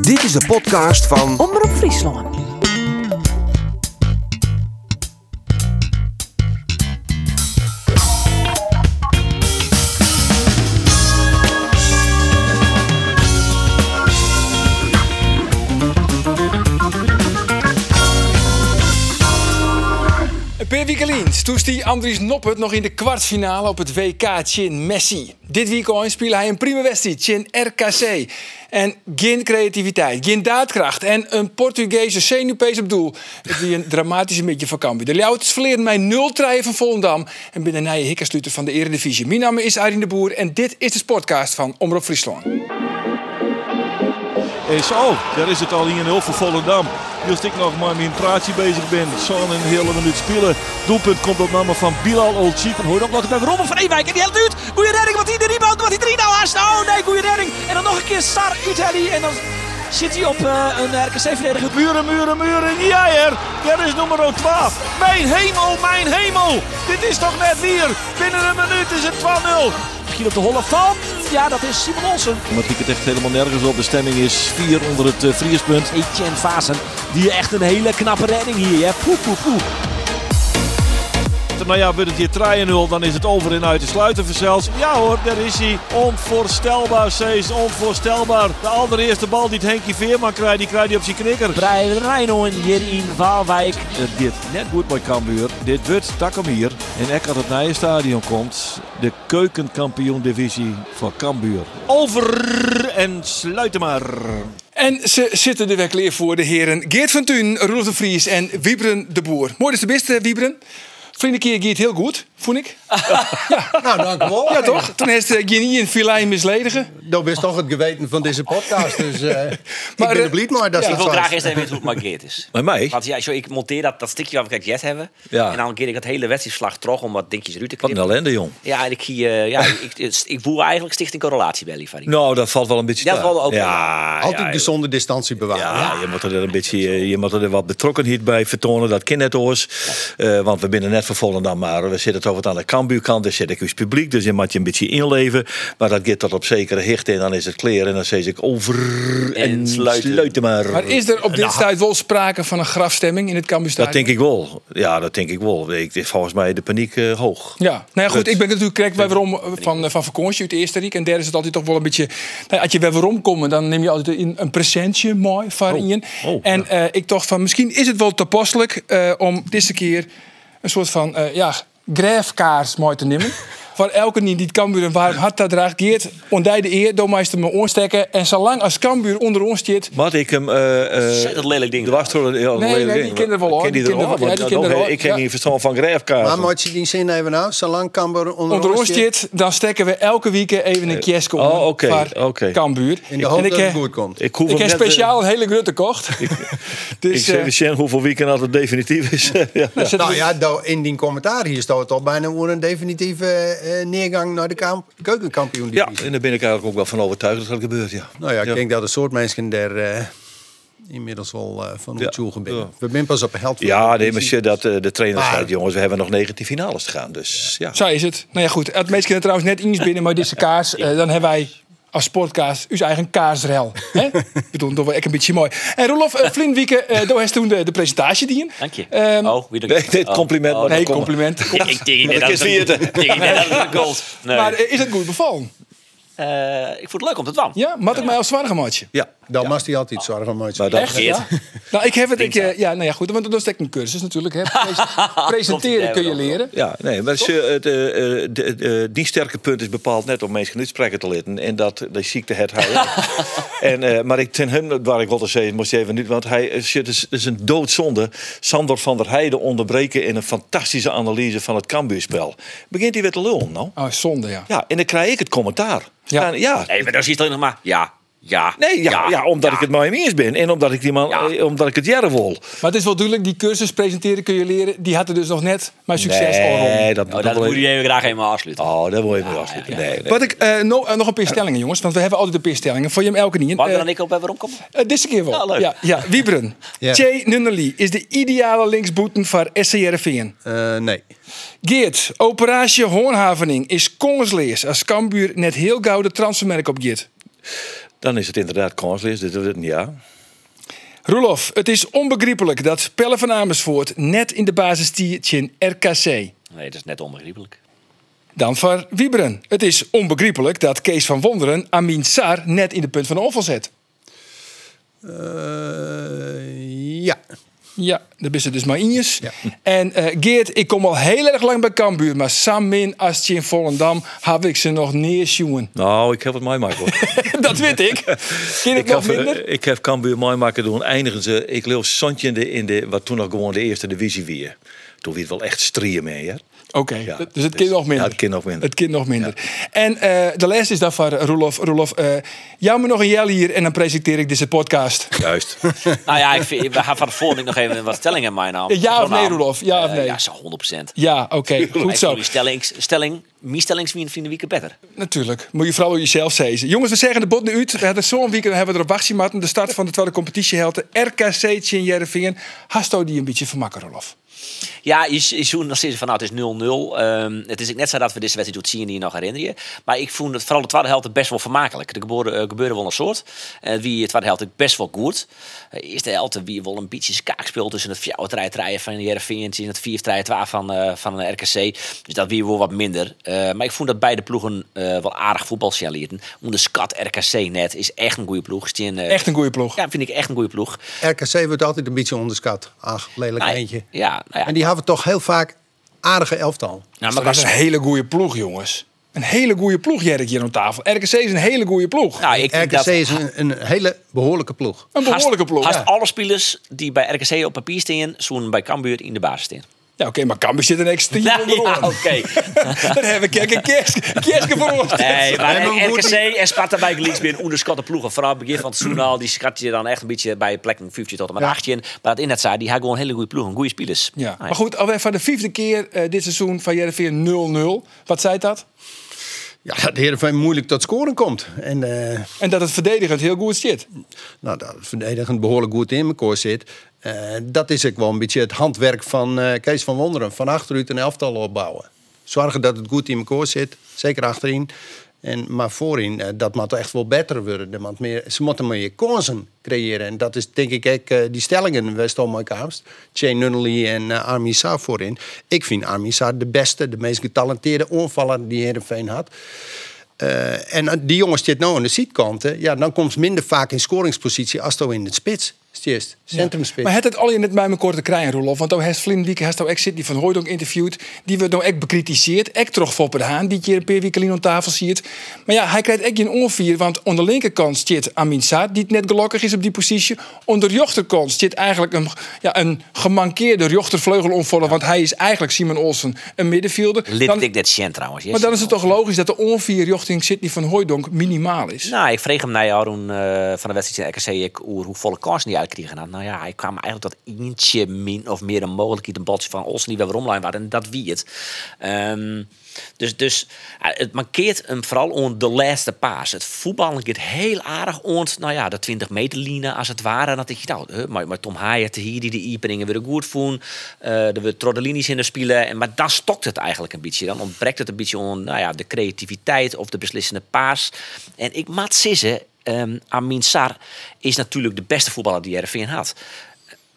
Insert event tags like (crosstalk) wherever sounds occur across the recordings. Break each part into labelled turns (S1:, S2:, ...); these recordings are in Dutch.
S1: Dit is de podcast van
S2: Omroep Friesland.
S3: Per weekend stoestie Andries Noppert nog in de kwartfinale op het WK Chin Messi. Dit weekend speelde hij een prima wedstrijd Chin RKC. En geen creativiteit, geen daadkracht en een Portugese zenuwpees op doel. Die een dramatische midje van Cambuur. De Ljouwters verleren mij 0 treien van Volendam en binnen een nieuwe hikkersluiter van de Eredivisie. Mijn naam is Arjen de Boer en dit is de Sportcast van Omroep Friesland.
S4: Is, oh, daar is het al hier in heel Volendam. Just ik nog maar met een praatje bezig ben. Zo'n een hele minuut spelen. Doelpunt komt op namen van Bilal Olcic. En hoor ook nog naar Robben van Ewijk. En die hele duurt. Goeie redding, wat hij de rebound, wat hij drie nou haast. Oh nee, goeie redding. En dan nog een keer Sar Itali. En dan zit hij op eh, een RKC-verdediger. Muren, muren, muren. Ja, er. Daar is nummer 12. Mijn hemel, mijn hemel. Dit is toch net hier. Binnen een minuut is het 12-0. Misschien op de holle van. Ja, dat is Simon Olsen. Maar het echt helemaal nergens op. De stemming is 4 onder het uh, vriespunt. Etienne Vazen, die echt een hele knappe redding hier. Hè? Poe, poe, poe. Nou ja, wordt het hier 3-0, dan is het over en uit de sluiten verzels. Ja hoor, daar is hij. Onvoorstelbaar, Sees. Onvoorstelbaar. De allereerste bal die het Henkie Veerman krijgt, die krijgt hij op zijn knikker.
S5: Bij Rijnhoorn hier in Waalwijk.
S4: Het Eh, dit net goed bij Cambuur. Dit wordt Takkemier. En Eck uit het nieuwe stadion komt. De keukenkampioen divisie van Cambuur. Over en sluiten maar.
S3: En ze zitten er weer klaar voor de heren Geert van Thun, Roelof de Vries en Wiebren de Boer. Mooi is de beste, eh, Wiebren. Vrienden keer ging het heel goed, vond ik.
S6: Ah,
S7: Nou, dank u wel.
S3: Ja, toch? Toen heeft eh, je niet een filijn misledigen.
S7: Dat is toch het geweten van deze podcast. Dus eh
S3: Maar,
S7: ik
S3: eh,
S7: ben er blij maar dat
S8: ik
S7: het
S8: wil
S7: zo
S8: graag
S7: is.
S8: eerst even weten hoe het maar Geert is.
S6: Bij mij?
S8: Want ja, zo, ik monteer dat, dat stukje wat we net hebben.
S6: Ja.
S8: En dan keer ik dat hele wedstrijdslag terug om wat dingetjes eruit te
S6: Wat nou, een
S8: knippen.
S6: ellende, jong.
S8: Ja, en ik, zie, eh,
S6: (laughs)
S8: ja, ik, ik, ik voel eigenlijk stichting correlatie bij Livari.
S6: Nou, dat valt wel een beetje
S8: Dat
S6: tegen.
S8: valt ook wel.
S6: Ja,
S7: Altijd
S6: ja,
S7: gezonde distantie bewaren.
S6: ja, je moet er een beetje, eh, je moet er wat betrokkenheid bij vertonen. Dat kind net oors. Eh, want we binnen net van Volendam, maar we zitten toch wat aan de Cambuurkant. Er zit ik het publiek, dus je moet je een beetje inleven. Maar dat gaat tot op zekere hichte en dan is het kleren. En dan zeg ik over en,
S8: En
S6: sluiten.
S8: sluiten.
S6: maar.
S3: Maar is er op dit tijd wel sprake van een grafstemming in het Cambuurstadion?
S6: Eh, nou. Dat denk ik wel. Ja, dat denk ik wel. Ik, volgens mij de paniek eh, hoog.
S3: Ja, nou ja, goed,
S6: Dat-
S3: ik ben natuurlijk correct bij waarom eh, van, eh, van vakantie uit de eerste week. En daar is het altijd toch wel een beetje... Nou, ja, als je bij waarom komt, dan neem je altijd een, een presentje mooi van
S6: Oh,
S3: in.
S6: oh,
S3: en eh, ik dacht van, misschien is het wel toepasselijk eh, om deze keer een soort van eh ja, grijfkaars mooi te
S6: (laughs)
S3: nemen. Voor elke die het Cambuur een warm hart daar draagt, Geert, ontdij de eer, door mij eens te me oorsteken. En zolang als Cambuur onder ons zit,
S6: Maar ik hem. eh eh
S8: Ontzettend lelijk ding.
S6: er was toch een heel
S3: nee,
S6: lelijk
S3: die
S6: ding.
S3: kinderen wel, hoor.
S6: Ken die
S3: Die
S6: er ook?
S3: kinderen wel. Ja, die
S6: Want dan-
S3: kinderen wel.
S6: Ik ken
S3: Ja.
S6: niet verstand van grijfkaarsen.
S7: Maar moet je die zin even nou? Zolang Cambuur onder,
S3: onder ons
S7: zit,
S3: zit, dan stekken we elke week even een kiesk onder
S6: oh, oké,
S3: voor
S6: oké.
S3: Cambuur.
S7: In de
S3: En
S7: hoop
S3: ik,
S7: dat het
S3: eh,
S7: goed komt.
S6: Ik, hoef
S3: Ik
S6: hem
S3: heb
S6: net, eh,
S3: speciaal een hele grutte kocht.
S6: Ik
S3: (laughs) dus eh,
S6: zeg eens, Sjen, hoeveel weekend dat het definitief is. eh, ja.
S3: nou, zitten
S7: Nou
S3: we-
S7: ja, daar- in die commentaar hier staat het al bijna voor een definitieve eh, neergang naar de kamp- keukenkampioen.
S6: ja,
S7: divisie.
S6: en daar ben ik eigenlijk ook wel van overtuigd dat dat gebeurt. Ja.
S7: Nou ja, ik denk dat een soort mensen daar eh, inmiddels wel eh, van
S6: Ja.
S7: op zoek zijn.
S6: Ja.
S7: We zijn pas op de helft. van
S6: Ja,
S7: de
S6: nee, maar
S7: divisie.
S6: Sjen, dat eh, de trainer
S7: Maar-
S6: staat, jongens, we hebben nog 19 finales te gaan. Dus ja.
S3: Zo is het. Nou ja, goed. Het meest kunnen trouwens net iets binnen, maar deze kaas, eh, dan hebben wij als sportkaas uw eigen kaasrel.
S7: (laughs)
S3: hè? Ik bedoel, dat wel echt een beetje mooi. En Rolof, eh Vlinwieke, eh
S7: (laughs)
S3: daar heeft toen de, de presentatie die in.
S8: Dank je.
S3: Ehm,
S8: oh, wie dan?
S6: Nee, dit
S8: Oh,
S6: compliment
S8: oh,
S6: mag
S3: nee,
S6: kom.
S3: compliment.
S8: Ik ik denk niet
S6: Dat
S8: dat
S6: is
S8: het een-
S6: vierde.
S8: ik denk niet dat het een goal
S6: (laughs)
S8: is. Nee.
S3: Maar eh, is het goed bevallen?
S8: Eh, ik vond het leuk om te dwan.
S3: Ja, maar ik mij als zwaar matje.
S6: ja.
S7: Dan mag hij altijd zorgen, maatje.
S6: Maar dat-
S3: Echt? Ja. Nou, ik heb het. Ik, eh, ja, nou ja, goed. Want dat is echt een cursus natuurlijk. Hè. Pres- Presenteren kun je leren.
S6: Ja, nee, maar ze, het, eh, eh, de- de- die sterke punt is bepaald net om mensen niet spreken te litten. En dat de ziekte het hij.
S3: (laughs)
S6: en, eh, maar ik, ten hem, waar ik wilde zeggen, moest je even niet. Want hij eh, shit, is, is een doodzonde. Sander van der Heijden onderbreken in een fantastische analyse van het Cambuurspel. Begint hij weer te lullen, nou?
S3: Oh, zonde, ja.
S6: Ja, en dan krijg ik het commentaar.
S3: Ja.
S6: Dan- ja.
S8: Nee, maar dan zie je het alleen nog maar. Ja, ja.
S6: Nee, ja, ja, omdat ik het maar eens ben. En omdat ik, die man,
S8: Ja.
S6: eh, omdat ik het jaren wil.
S3: Maar het is wel duidelijk, die cursus presenteren kun je leren, die had er dus nog net mijn succes al rond.
S6: Nee, dat,
S8: Nou,
S6: dat
S8: dat
S6: wil
S8: moet
S6: ik-
S8: je even graag helemaal afsluiten.
S6: Oh, dat wil je me afsluiten. Nee, nee.
S3: Wat ik, eh, no- eh, nog een paar stellingen, jongens. Want we hebben altijd een paar stellingen. Voor je hem elke niet.
S8: Mag ik er
S3: Eh,
S8: dan ik ook bij waarom komen?
S3: eh, Deze keer wel.
S8: Ja, leuk.
S3: Ja, ja.
S8: (laughs)
S3: Wiebren.
S7: Ja.
S3: Tjee Nunnely is de ideale linksboeten voor SCRV'en.
S7: Eh, nee.
S3: Geert, operatie Hoornhavening is kongensleers als Cambuur net heel gauw de transfermerk op Geert.
S6: dan is het inderdaad kansloos. Dit is het ja.
S3: Roelof, het is onbegrijpelijk dat Pelle van Amersfoort net in de basis stiert in RKC.
S8: Nee, dat is net onbegrijpelijk.
S3: Dan van Wieberen. Het is onbegrijpelijk dat Kees van Wonderen Amin Sar net in de punt van de onval zet.
S7: Eh, ja.
S3: Ja, daar is het dus maar injes. En eh, Geert, ik kom al heel erg lang bij Cambuur, maar Samin, Astje in Volendam heb ik ze nog neersjoen.
S6: Nou, ik heb het mooi maken. hoor.
S3: (laughs) Dat weet ik. Ken ik,
S6: ik,
S3: nog
S6: heb,
S3: minder?
S6: eh, ik heb Cambuur mooi maken doen. Eindigen ze. Ik leef Santje in de, in de, wat toen nog gewoon de eerste divisie weer. Toen weer wel echt strieën mee, hè?
S3: Oké,
S6: Ja,
S3: d- dus het
S6: dus-
S3: kind nog minder.
S6: ja, het kind nog minder.
S3: Het kind nog minder. En eh, de les is daarvan, Roelof. Roelof, eh jou maar nog een jel hier en dan presenteer ik deze podcast.
S6: Juist.
S8: Nou ja, ik vind, we gaan van de volgende week nog even wat stellingen in mijn naam.
S3: Ja of nee, Roelof? Ja of
S8: Eh,
S3: nee?
S8: ja, zo 100 procent.
S3: Ja, oké,
S6: (laughs)
S3: goed zo.
S8: Stelling, stelling, mijn stelling is wie in de week beter.
S3: Natuurlijk. Moet je vooral door jezelf zeggen. Jongens, we zeggen de bot nu uit. We hadden zo'n weekend hebben we er op wachtje De start van de tweede competitie helte RKC Tjin Jervingen. Hasto die een beetje vermakken, Roelof.
S8: Ja, je, je zoent nog steeds van nou, het is 0-0. Ehm, het is ik net zo dat we deze wedstrijd doet zien die je nog herinner je. Maar ik vond het vooral de tweede helft best wel vermakelijk. Er gebeurde, eh, gebeurde wel een soort. En wie de tweede helft best wel goed. Eh, eerste helft wie wel een beetje kaakspeel tussen het fjouwertrijtrijden van Jereveen en het 4-3-2 van, eh van de RKC. Dus dat wie wel wat minder. Eh, maar ik vond dat beide ploegen eh, wel aardig voetbal signaleerden. Om de skat RKC net is echt een goede ploeg. Stien, eh,
S3: Echt een goede ploeg.
S8: Ja, vind ik echt een goede ploeg.
S7: RKC wordt altijd een beetje onderschat. Ach, lelijk
S8: Nou,
S7: eentje.
S8: Ja, nou ja.
S7: En die hebben toch heel vaak aardige elftal.
S8: Nou,
S3: Maar dat is een hele goede ploeg, jongens. Een hele goede ploeg, Jerk, hier aan tafel. RKC is een hele goede ploeg.
S8: Nou, ik,
S7: RKC
S8: dat-
S7: is een, een hele behoorlijke ploeg.
S3: een behoorlijke ploeg.
S8: Haast
S3: ja.
S8: alle spelers die bij RKC op papier staan, zoen bij Cambuur in de basis staan.
S3: Ja, oké, maar Cambuur zit er niks te
S8: Nou, ja,
S3: onderaan. (laughs)
S8: oké.
S3: Dan hebben we een kerstje kerstje voor ons.
S8: Nee, maar
S7: maar we
S8: RKC en Sparta bij links binnen onderschatte ploegen. Vooral het begin van het seizoen al, die schat je dan echt een beetje bij plek 15 tot en met 18. Maar dat in dat zaad, die hebben gewoon hele goede ploegen, goede spelers.
S3: Ja.
S8: Ah,
S3: Maar goed, alweer van de vijfde keer eh, dit seizoen van Jervingen 0-0. Wat zei dat?
S7: Ja, dat Heerenveen moeilijk tot scoren komt. En eh,
S3: En dat het verdedigend heel goed zit.
S7: nou, dat het verdedigend behoorlijk goed in elkaar zit. Eh, dat is ook wel een beetje het handwerk van eh, Kees van Wonderen. Van achteruit een elftal opbouwen. Zorgen dat het goed in elkaar zit. Zeker achterin. En, maar voorin, eh, dat moet echt wel beter worden. Er moet meer, ze moeten meer kansen creëren. En dat is denk ik ook eh, die stellingen West Kaamst. Jane Nunnally en eh, Armin Saar voorin. Ik vind Armin Saar de beste, de meest getalenteerde onvaller die Heerenveen had. Eh, en die jongens zit nou aan de zietkanten. Ja, dan komt ze minder vaak in scoringspositie als dan in de spits. Stierst, centrumspits.
S3: Maar het het al je net bij me kort te krijgen, Rolof. Want ook heeft Flynn Wieke, heeft ook Sidney van Hooydonk interviewd. Die wordt nou echt bekritiseerd. Ek troch Fopper de Haan, die je een paar weken aan tafel ziet. Maar ja, hij krijgt echt een onvier. Want aan de linkerkant zit Amin Saad, die het net gelukkig is op die positie. Aan de rechterkant zit eigenlijk een, ja, een gemankeerde rechtervleugel omvallen. Want hij is eigenlijk Simon Olsen, een middenvelder.
S8: Lid
S3: Dan-
S8: ik net Sjen trouwens. yes.
S3: maar dan is het toch logisch dat de onvier richting Sidney van Hooydonk minimaal is.
S8: Nou, ik vroeg hem naar jou toen, eh, van de wedstrijd in RKC ik, oer hoe volle kansen die uitkregen had. Nou ja, hij kwam eigenlijk tot eentje min of meer een mogelijkheid een baltje van Olsen die we weer online waren. En dat wie het. Ehm, dus dus eh, het mankeert hem vooral om de laatste paas. Het voetballen gaat heel aardig ont, nou ja, de 20 meter lijnen als het ware. En dat denk je, nou, hè, maar, maar Tom Haaien te hier die de ieperingen weer goed voelen. Eh er weer trodelinies in de spelen. En, maar dan stokt het eigenlijk een beetje. Dan ontbreekt het een beetje om nou ja, de creativiteit of de beslissende paas. En ik maat sissen, ehm, Amin Sar is natuurlijk de beste voetballer die RVN had.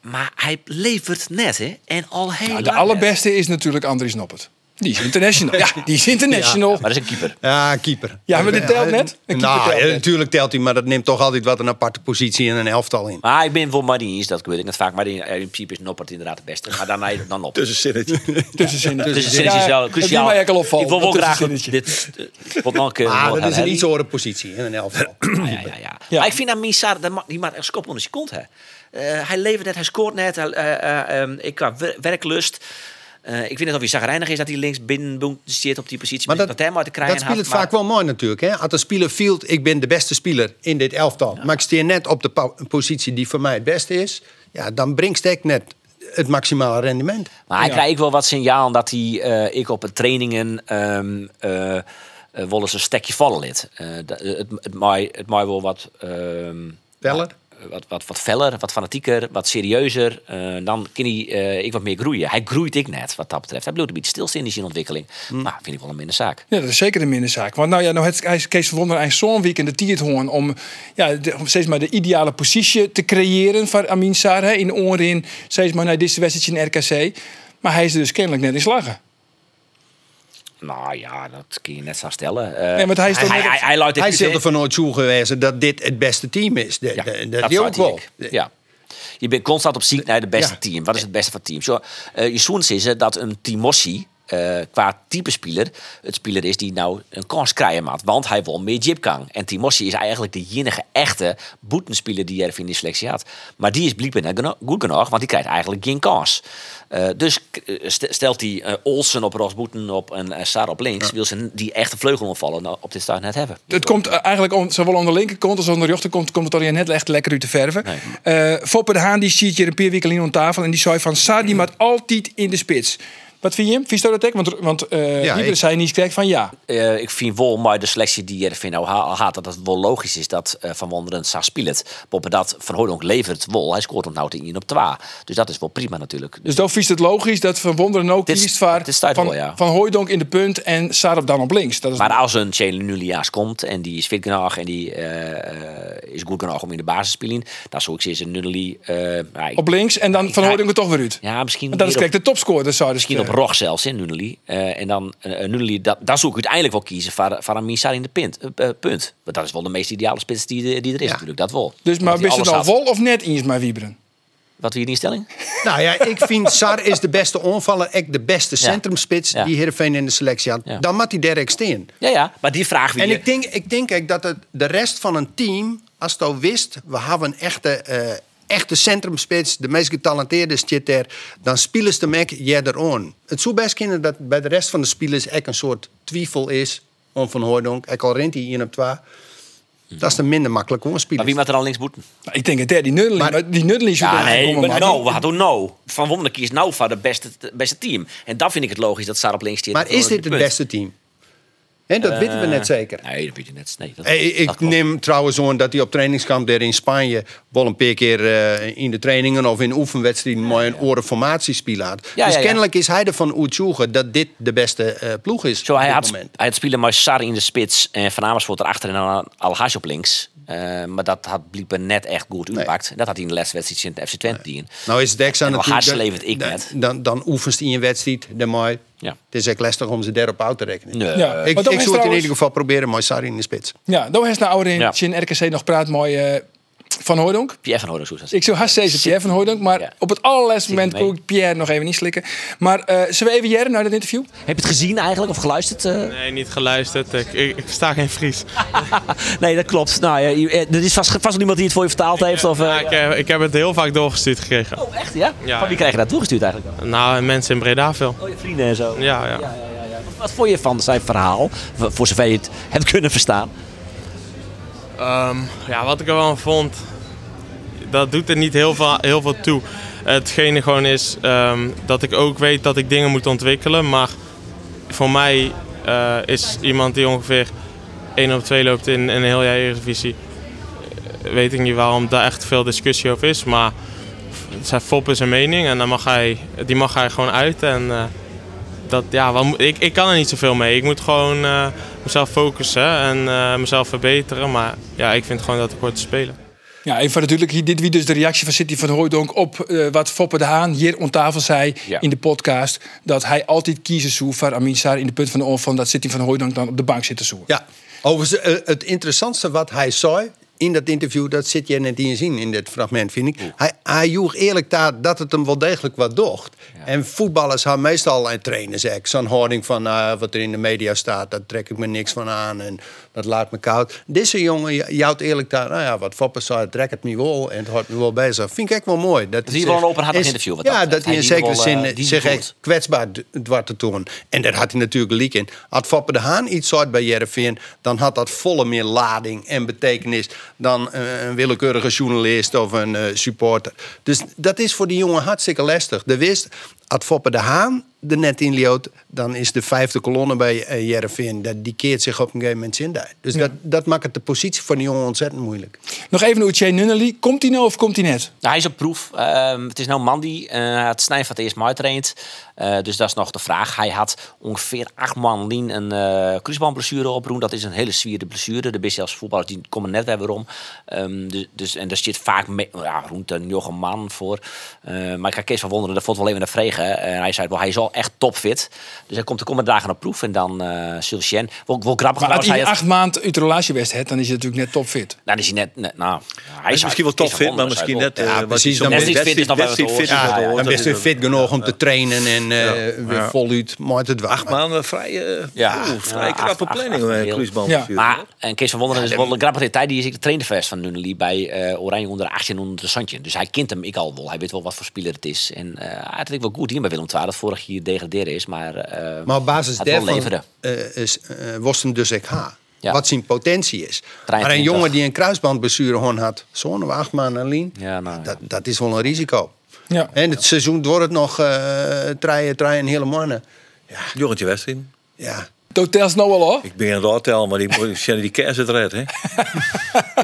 S8: Maar hij levert net, hè? En al heel
S3: Nou, de
S8: lang net.
S3: allerbeste is natuurlijk Andries Noppert. Die is
S8: (laughs)
S3: international. Ja, die is international.
S8: Maar dat is een keeper.
S7: Ja, keeper.
S3: Ja, maar dat telt net. Een keeper
S7: nou,
S3: telt
S7: ja,
S3: net.
S7: natuurlijk telt hij, maar dat neemt toch altijd wat een aparte positie in een elftal in.
S8: Maar ik ben voor Marines, dat gebeurt ik net vaak. Maar in, in principe is Noppert inderdaad de beste. Maar dan, dan
S6: (laughs) Dus (laughs)
S8: op.
S6: Tussenzinnetje.
S3: Tussenzinnetje.
S8: Dus het zinnetje is wel cruciaal.
S3: Die mag ik al opvallen.
S8: Ik wil wel
S3: dat
S8: graag
S3: tussenzinnetje.
S8: dit. eh, Wat nog een keer.
S7: Ah,
S8: nog
S7: dat
S8: gaan
S7: is een
S8: hebben.
S7: iets andere positie in een elftal.
S8: Ja, ja, ja. Maar ik vind dat Misar, dat ma- die maakt echt skop onder zijn kont. Hè. Eh, hij levert net, hij scoort net. Hij, eh, eh, ehm, ik qua wer- werklust. eh, ik weet niet of hij zagrijnig is dat hij links binnen boem, zit op die positie.
S7: Maar
S8: met
S7: dat,
S8: dat hem uit de kraaien
S7: dat speelt het
S8: haalt,
S7: vaak
S8: maar-
S7: wel mooi natuurlijk. Hè? Als een speler field, ik ben de beste speler in dit elftal. Maar ik steer net op de pa- positie die voor mij het beste is. Ja, dan brengt ik net het maximale rendement.
S8: Maar hij krijgt wel wat signaal dat hij eh, ik op het trainingen ehm eh, eh, wel eens een stekje vallen liet. Eh, dat- het het maai het maai wel wat. ehm
S7: Weller?
S8: eh, wat, wat, wat feller, wat fanatieker, wat serieuzer. eh, dan kan hij eh, ik wat meer groeien. Hij groeit ik net, wat dat betreft. Hij bloedt een beetje stilstaan in zijn ontwikkeling.
S3: Hm.
S8: Maar vind ik wel een minder zaak.
S3: Ja, dat is zeker een minderzaak. Want nou ja, nou het hij is Kees van Wonder en zo'n week in de Tiethoorn om, ja, de- om steeds maar de ideale positie te creëren van Amin Sar hè, in onrin, steeds maar naar dit wedstrijdje in RKC. Maar hij is er dus kennelijk net in slagen.
S8: Nou ja, dat kun je net zo stellen. Eh,
S3: Nee, want hij is toch
S8: hij,
S3: net-
S8: hij, hij, luidt dit
S7: Hij
S8: uit,
S7: zit
S8: hè?
S7: er van nooit toe geweest dat dit het beste team is. Dat,
S8: Ja,
S7: dat, dat die ook
S8: zou
S7: wel.
S8: ik. Ja. Je bent constant op zoek naar het beste
S7: Ja.
S8: team. Wat is het beste van team? Zo, eh, je zoens is eh, dat een Timossi eh, qua type speler het speler is die nou een kans krijgen maakt. Want hij won meer Jipkang. En Timossi is eigenlijk de enige echte boetenspeler die Jervin in de selectie had. Maar die is blijkbaar net geno- goed genoeg, want die krijgt eigenlijk geen kans. Eh, dus k- eh, st- stelt hij eh, Olsen op Rosboeten op en eh, Saar op links. Wil ze die echte vleugel omvallen nou, op dit start net hebben.
S3: Het komt eh, eigenlijk om, zowel aan de linkerkant als aan de rechterkant komt het alleen net echt lekker uit de verven. Eh Foppe de Haan die ziet hier een paar weken alleen aan tafel en die zei van Sar die maakt altijd in de spits. Wat vind je hem? Vind je dat ook? Want, want eh
S7: Ja,
S3: ja,
S7: ik-
S3: zei niet krijgt van ja.
S8: Eh, ik vind wel maar de selectie die Jervin nou ha- al had, dat het wel logisch is dat eh, Van Wonderen zou spelen. Boppen dat Van Hooydonk levert wel. Hij scoort hem nou te 1 op 2. Dus dat is wel prima natuurlijk.
S3: Dus dan vies het logisch dat Van Wonderen ook
S8: Dit-
S3: kiest voor
S8: dit staat
S3: van,
S8: wel, ja.
S3: van Hooijdonk in de punt en Sarp dan op links. Dat is
S8: maar als een Chelen Nuliaas komt en die is fit genoeg en die eh, eh, is goed genoeg om in de basis te spelen, dan zou ik ze een Nulli. eh, ja, ik-
S3: op links en dan Van
S8: Ja,
S3: Hooijdonk er toch weer uit.
S8: ja, misschien.
S3: Want dat is
S8: meer op-
S3: kijk de topscorer, dat zou dus
S8: Misschien op Rog zelfs in Nuneli. Eh, en dan eh Nuneli, dat, daar zou ik uiteindelijk wel kiezen voor, voor een Misar in de pint, eh, eh, punt. Want dat is wel de meest ideale spits die, er- die er is natuurlijk, dat wel.
S3: Dus maar
S8: Omdat
S3: wist
S8: hij
S3: het
S8: alles
S3: al
S8: had.
S3: vol of net eens maar wieberen?
S8: Wat weer die stelling?
S7: Nou ja, ik vind Sar is de beste onvaller. Ik de beste
S8: Ja.
S7: centrumspits
S8: Ja.
S7: die Heerenveen in de selectie had.
S8: Ja.
S7: Dan moet hij Derek Steen.
S8: Ja, ja, maar die vraag eh, weer.
S7: En ik denk, ik denk ook dat het, de rest van een team, als het al wist, we hebben een echte, eh, echte centrumspits, de meest getalenteerde zit er, dan spelen ze de Mac jij on. Het zou best kunnen dat bij de rest van de spelers echt een soort twijfel is om Van Hooydonk. Ik al rent hij in op twee. Dat is dan minder makkelijk om
S8: maar wie
S7: spelen.
S8: maakt er dan links boeten?
S3: Nou, ik denk het, hè, die Nunnely.
S7: Maar-
S3: Maar, die Nunnely is
S8: Ja, nee,
S3: maar
S8: maar nou, wat doen nou? Van Wonder kiest nou voor het beste, de beste team. En dan vind ik het logisch dat Sarah op links zit.
S7: Maar is dit het beste team? Hè, dat weten we net zeker.
S8: Nee, dat weet je net. Nee, dat,
S7: Eh, Hey, ik
S8: dat klopt.
S7: neem trouwens aan dat hij op trainingskamp daar in Spanje wel een paar keer eh, in de trainingen of in oefenwedstrijden maar een oren formatie spelen had.
S8: Ja,
S7: dus
S8: ja, ja.
S7: kennelijk is hij ervan oetjoegen dat dit de beste eh, ploeg is
S8: Zo,
S7: op
S8: hij
S7: dit
S8: had, hij
S7: moment.
S8: had spelen maar Sarri in de spits en Van Amersfoort erachter en dan al Haas op links. Eh, maar dat had blijkbaar net echt goed uitgepakt. Dat had hij in de laatste wedstrijd in de FC Twente. die in.
S7: Nou is het extra
S8: En wel
S7: natuurlijk.
S8: Haas
S7: dat-
S8: levert ik
S7: dan-
S8: net.
S7: Dan, dan oefenst hij een wedstrijd, dan maar.
S8: Ja.
S7: Het is echt lastig om ze daarop uit te rekenen.
S8: Nee.
S3: Ja.
S7: Eh, Ik,
S3: Maar
S7: ik
S3: dan
S7: zou
S3: is
S7: het in
S3: trouwens-
S7: ieder geval proberen, maar Sarri in de spits.
S3: Ja, dan heeft nou Ouderin,
S8: Ja.
S3: in RKC nog praat mooi eh, van Hooydonk.
S8: Pierre van Hooydonk, zoals
S3: Ik zou haast zeggen Pierre van Hooydonk, maar
S8: Ja.
S3: op het allerlaatste
S8: Zit
S3: moment
S8: mee.
S3: kon ik Pierre nog even niet slikken. Maar eh zullen we even Jere naar dat interview?
S8: Heb je het gezien eigenlijk of geluisterd? eh?
S1: Nee, niet geluisterd. Ik, ik, ik versta geen Fries.
S8: Nee, dat klopt. Nou, ja, je- eh, er is vast, vast wel iemand die het voor je vertaald heeft. Of, eh,
S7: nou,
S1: Ja, ik, heb- ik heb het heel vaak doorgestuurd gekregen.
S8: Oh, echt ja?
S1: Ja,
S8: Van wie
S1: ja.
S8: krijg je dat toegestuurd eigenlijk? dan?
S1: Nou, mensen in Breda veel.
S8: Oh, je vrienden en zo.
S1: Ja, ja.
S8: Ja, ja, ja. Wat vond je van zijn verhaal? Voor voor zover je het hebt kunnen verstaan.
S1: Ehm, ja, wat ik er wel aan vond, dat doet er niet heel veel, heel veel toe. Hetgene gewoon is ehm, dat ik ook weet dat ik dingen moet ontwikkelen. Maar voor mij eh, is iemand die ongeveer 1 op 2 loopt in een heel jaar Eredivisie. eh, Weet ik niet waarom daar echt veel discussie over is. Maar zijn Fop is een mening en dan mag hij, die mag hij gewoon uit. En eh, dat, ja, wat moet- ik, ik kan er niet zoveel mee. Ik moet gewoon eh, mezelf focussen en eh, mezelf verbeteren. Maar ja, ik vind gewoon dat ik hoor te spelen.
S3: Ja, even natuurlijk, hier- dit wie dus de reactie van City van Hooydonk op eh, wat Foppe de Haan hier on tafel zei
S8: Ja.
S3: in de podcast. Dat hij altijd kiezen zou voor Amin Sarr in de punt van de oor van dat City van Hooydonk dan op de bank zit te zoeken.
S7: Ja, overigens, eh, het interessantste wat hij zei in dat interview, dat zit je net in zien in dit fragment, vind ik. Hij, hij joeg eerlijk daar dat het hem wel degelijk wat docht. En voetballers gaan meestal en trainers ook zo'n houding van eh, wat er in de media staat, daar trek ik me niks van aan en dat laat me koud. Deze jongen jou- jouwt eerlijk daar, nou ja, wat Foppers zei, trek het me wel en het houdt me wel bezig. Vind ik echt wel mooi. Dat
S8: is hier wel een openhartig
S7: is-
S8: interview wat dat
S7: Ja, dat
S8: betreft.
S7: hij in
S8: Hij die
S7: zekere
S8: wel, eh,
S7: zin eh,
S8: die
S7: zich
S8: voelt.
S7: echt kwetsbaar d- dwars te tonen. En daar had hij natuurlijk leak in. Had Foppe de Haan iets soort bij Jervin, dan had dat volle meer lading en betekenis dan eh, een willekeurige journalist of een eh, supporter. Dus dat is voor die jongen hartstikke lastig. De wist, had Foppe de Haan er net in lioot, dan is de vijfde kolonne bij eh, Heerenveen, dat die keert zich op een gegeven moment zin daar. Dus dat, dat maakt het de positie van die jongen ontzettend moeilijk.
S3: Nog even naar Uche Nunnally. Komt hij nou of komt hij net?
S8: Nou, hij is op proef. Ehm, het is nou Mandy. eh het snijden van het eerst maar traint. Eh, dus dat is nog de vraag. Hij had ongeveer acht man lien een eh kruisbandblessure oproen. Dat is een hele zwierde blessure. De BCL's voetballers die komen net weer weer om. Ehm, dus, dus, en daar zit vaak me, ja, rond een jonge man voor. Eh, maar ik ga Kees van Wonderen, dat vond wel even naar vregen. En hij zei, wel, hij is al echt topfit. Dus hij komt de komende dagen op proef. En dan eh Sulcien. Wel, wel grappig.
S3: Maar als
S8: trouwens,
S3: hij
S8: hij had-
S3: acht maanden uit de relatiewest hebt, dan is hij natuurlijk net topfit.
S8: nou, dan is hij net... net- nou, hij
S6: Hij is
S8: zou-
S6: misschien wel
S8: Kees
S6: tof
S8: van
S6: fit, maar
S8: Wonderen
S6: misschien
S8: zou ik
S6: net...
S8: wel-
S6: eh,
S7: Ja,
S6: wat
S7: precies,
S6: is
S7: dan
S6: zo'n
S7: ben je-
S6: wedstrijd-
S8: fit is nog wel
S6: wedstrijd
S8: wat te
S6: fit is nog
S8: horen.
S6: wel wat,
S8: Ja,
S7: Dan
S6: dat
S7: ben
S6: is
S7: je
S6: het.
S7: fit genoeg om te trainen en eh, weer voluit maakt het wacht.
S6: Acht maanden vrij, eh
S8: Ja.
S6: oeh, vrij
S8: Ja,
S6: knappe
S8: acht- acht-
S6: planning,
S8: acht-
S6: eh,
S8: heel.
S6: kruisbandblessure.
S8: Maar en Kees van Wonderen is wel een grappige tijd. Die is ik de trainervest van Nunnely bij eh, Oranje onder de 18 en onder de Santje. Dus hij kent hem ik al wel. Hij weet wel wat voor speler het is. En eh, hij had het wel goed hier bij Willem II. Dat vorig jaar degraderen is. Maar, eh,
S7: Maar op basis
S8: het wel
S7: daarvan
S8: leveren.
S7: eh is, eh, was hem dus ik ha.
S8: Ja.
S7: Wat zijn potentie is. Maar een
S8: 23.
S7: jongen die een kruisbandblessure gewoon had, zo'n acht maanden alleen,
S8: Ja, nou ja.
S7: dat, dat is wel een risico.
S3: Ja.
S7: En het seizoen wordt het nog eh draaien, draaien, hele mannen.
S6: Jorritje Westring.
S7: Ja,
S3: Totels nou al hoor.
S6: Ik ben een raadtel, maar die moet- Shannon die kerst het
S8: (laughs)
S6: redt, hè? Je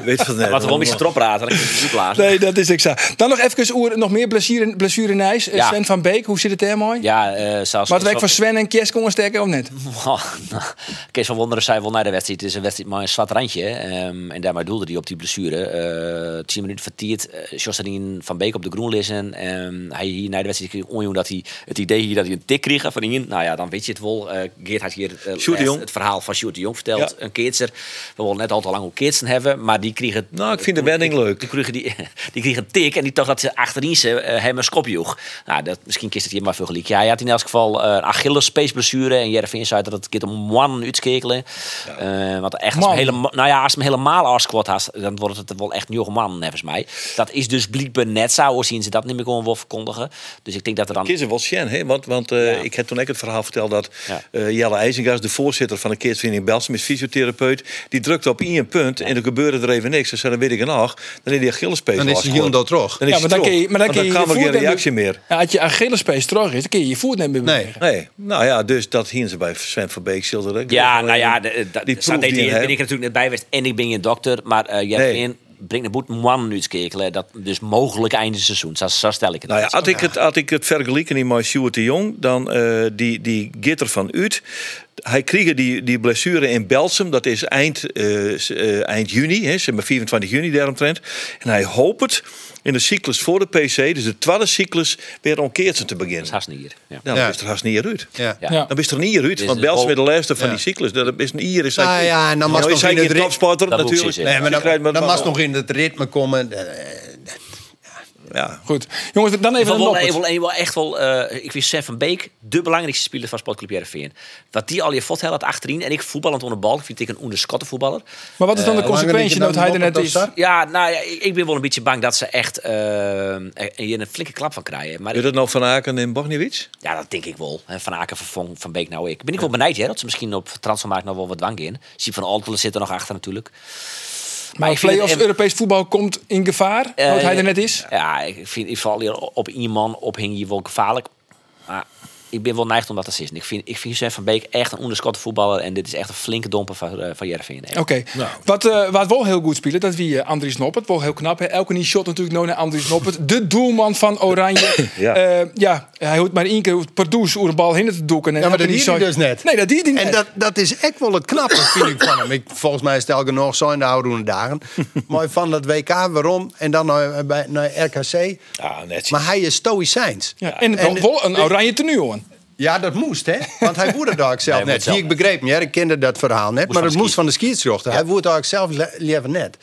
S6: weet van net.
S8: Laten we gewoon iets erop praten. Dan kan ik het niet blazen.
S3: Nee, dat is exact. Dan nog even oer, nog meer blessure, blessure Nijs. Eh,
S8: Ja.
S3: Sven van Beek, hoe zit het er mooi?
S8: Ja, eh zelfs...
S3: Maar het werk van Sven en Kies kon sterker of net?
S8: (laughs) Oh, nou, Kees van Wonderen zei wel na de wedstrijd. Het is een wedstrijd maar een zwart randje. ehm, en daarmee doelde hij op die blessure. Eh 10 minuten vertierd. eh Josselin van Beek op de groen lissen. Ehm, hij hier na de wedstrijd kreeg onjoen dat hij het idee hier dat hij een tik kreeg van iemand. Nou ja, dan weet je het wel. Eh, Geert had hier eh,
S6: Sjoerd de Jong.
S8: het verhaal van Sjoerd de Jong verteld. Een keertser. We wilden net al te lang hoe keertsen hebben. Maar die kregen...
S6: Nou, ik vind de wending leuk.
S8: Die kregen, die, (laughs) die kregen een tik en die dacht dat ze achterin ze eh, hem een schop joeg. Nou, dat, misschien kist het hier maar veel gelijk. Ja, hij had in elk geval eh, een Achillespeesblessure. En Jervin zei dat het kind om man uitskekelen. Eh, want echt, als
S3: Man.
S8: hem helemaal, nou ja, als hem helemaal afsquat had, dan wordt het wel echt een jonge man, volgens mij. Dat is dus blijkbaar net zo, zien ze dat niet meer gewoon wel verkondigen. Dus ik denk dat er dan...
S6: Kissen was Shen, hè? Want, want eh,
S8: Ja.
S6: ik heb toen ik het verhaal verteld dat
S8: Ja.
S6: eh, Jelle IJzingas, de voorzitter van de Kidsvereniging Belsum, is fysiotherapeut. Die drukte op één punt en er gebeurde er even niks. Dus dan weet ik het nog. Dan is die Achillespees
S7: dan is hij
S6: afgeschort.
S7: heel terug.
S6: Dan is
S3: Ja, maar dan kun je, maar dan kun je,
S6: kan
S3: je
S6: er geen
S3: voet
S6: reactie meer.
S3: Ja, als je Achillespees terug is, dan kun je je voet niet meer bewegen.
S6: Nee, nou ja, dus dat hingen ze bij Sven van Beek schilderen.
S8: Ja, nou ja, de- de-
S6: eh, die
S8: dat
S6: proef
S8: staat
S6: die
S8: deed-
S6: je
S8: ben ik
S6: hebt.
S8: er natuurlijk net bij geweest. En ik ben je dokter. Maar eh Jervin
S6: Nee.
S8: brengt de boet man uitskekelen. Dat dus mogelijk einde seizoen. Zo, zo stel ik het.
S6: Nou ja, had ik het, had ik het vergeleken in mijn Sjoerd de Jong, dan eh, die, die Gitter van Ut. Hij kreeg die, die blessure in Belsum, dat is eind, eh, s- eh, eind juni, hè, zeg maar 24 juni daaromtrent. En hij hoopt het in de cyclus voor de PC, dus de tweede cyclus, weer omkeert ze te beginnen.
S8: Haast niet hier. Ja.
S6: Nou,
S7: Ja.
S6: dan is er haast niet uit.
S7: Ja.
S8: Ja.
S3: Ja.
S6: Dan is er niet uit,
S8: Is
S6: want
S8: het
S6: Belsum
S8: wel-
S6: is de laatste van
S7: Ja.
S6: die cyclus. Dat is een hier is hij.
S7: Nou ja, en dan mag
S6: nou,
S7: nog
S6: is hij
S7: in het
S6: geen
S7: rit-
S6: topsporter
S8: Dat moet
S6: natuurlijk.
S8: ze
S7: Nee,
S8: zeggen.
S7: maar
S6: Je krijgt
S7: dan,
S6: met-
S7: dan mag nog in het ritme komen. Eh,
S6: Ja.
S3: Goed. Jongens, dan even
S8: Van
S3: een
S8: wel,
S3: noppert.
S8: wel- en wel echt wel, eh, ik vind Sven van Beek de belangrijkste speler van Sportclub Heerenveen. Wat die al je fot had achterin en ik voetballend onder de bal, ik vind ik een onderschatte voetballer.
S3: Maar wat is dan de
S7: hoe lang Eh, denk
S3: consequentie
S7: je
S3: dat
S7: dan
S3: hij er net
S7: noppert
S3: is?
S7: dan, Sar?
S8: Ja, nou ja, ik ik ben wel een beetje bang dat ze echt eh, er- hier een flinke klap van krijgen. Maar
S6: Is dat nou Van Aken en Bogniewicz?
S8: ja, dat denk ik wel. Hè, Van Aken, Van, van Beek, nou ik. Ben ik wel benijd hè, dat ze misschien op transfermarkt nog wel wat dwang in. Zie van Altelen zit er nog achter natuurlijk.
S3: Maar
S8: ik vind
S3: play-offs
S8: het-
S3: Europees voetbal komt in gevaar, dat
S8: Eh,
S3: hij er net is?
S8: Ja, ik vind ik val hier op één man ophing hier wel gevaarlijk. Maar ik ben wel neigd om dat te sissen. Ik vind, ik vind Sven van Beek echt een onderschatte voetballer. En dit is echt een flinke domper van, eh, van Jervin.
S3: Oké.
S7: Nou.
S3: Wat, eh wat wel heel goed spelen, dat wie eh, Andries Noppert. Wel heel knap. Hè? Elke nieuwe shot natuurlijk nou naar Andries Noppert. De doelman van
S7: (coughs)
S3: Oranje. ja.
S6: Ja.
S3: ja, hij hoeft maar één keer per douche oer een bal hinder te doeken. En
S7: Ja, maar
S3: elke
S7: dat
S3: die
S7: deed hij
S3: zei-
S7: dus net.
S3: Nee, dat deed hij niet.
S7: En dat, dat is echt wel het
S3: (laughs)
S7: knappe, vind ik van hem. Ik, volgens mij stel ik nog zo in de oude dagen. Mooi van dat WK, waarom? En dan naar, bij, naar RKC.
S6: Ja, net.
S7: Maar hij is stoïcijns.
S3: ja, en, wel- wel een oranje tenue, hoor.
S7: Ja, dat moest, hè? Want hij woerde daar ook zelf
S8: Nee, hij
S7: net.
S8: woedde zelf
S7: Hier, ik begreep me, hè? ik kende dat verhaal net. maar
S8: van
S7: het
S8: de
S7: moest van de scheidsrechter. Hij woerde daar ook zelf le- liever net.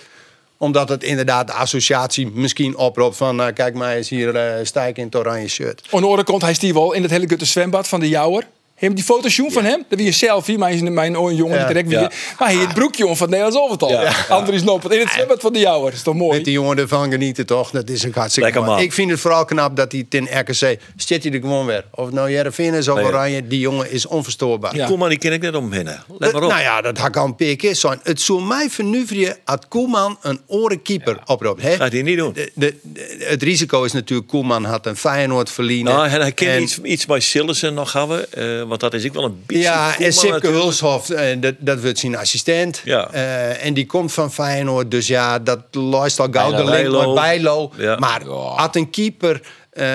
S7: Omdat het inderdaad de associatie misschien oproept van... nou, kijk maar, is hier eh Stijk in het oranje shirt.
S3: Aan de andere kant, hij stier wel in het hele gutte zwembad van de Jouwer. Hem die fotoshoot van hem, dat wie een selfie, maar hij is in mijn oor een jongen
S7: Ja,
S3: niet direct wie.
S6: ja.
S3: Maar hij het broekje om van het Nederlands Overtal. Andries Noppert in het zwembad van de Jouwer. Is toch mooi?
S7: Met die jongen ervan genieten toch? Dat is een hartstikke
S6: Lekker
S7: mooi.
S6: man.
S7: Ik vind het vooral knap dat hij ten RKC... Zit hij er gewoon weer. Of het nou Jereveen is of
S6: Nee.
S7: Oranje. Die jongen is onverstoorbaar.
S3: Ja. Eh,
S6: Koeman, die ken ik net om binnen. Let maar op.
S7: Nou ja, dat had al een paar keer zijn. Het zou mij vernuveren als Koeman een orenkeeper oproept. hè?
S6: Gaat hij niet
S3: Eh,
S6: doen.
S7: De- de- de- het risico is natuurlijk, Koeman had een Feyenoord verliezen.
S6: Nou, en hij kent
S7: En-
S6: iets, iets bij Sillessen nog hebben, eh, want dat is ook wel een beetje.
S7: Ja,
S6: Koeman
S7: en Sipke
S6: natuurlijk.
S7: Hulshoff, eh, dat, dat wordt zijn assistent.
S6: Ja.
S7: Eh, en die komt van Feyenoord, dus ja, dat lost al gauw de
S6: Bijlo.
S7: link met Bijlo.
S6: Ja.
S7: Maar had een keeper, eh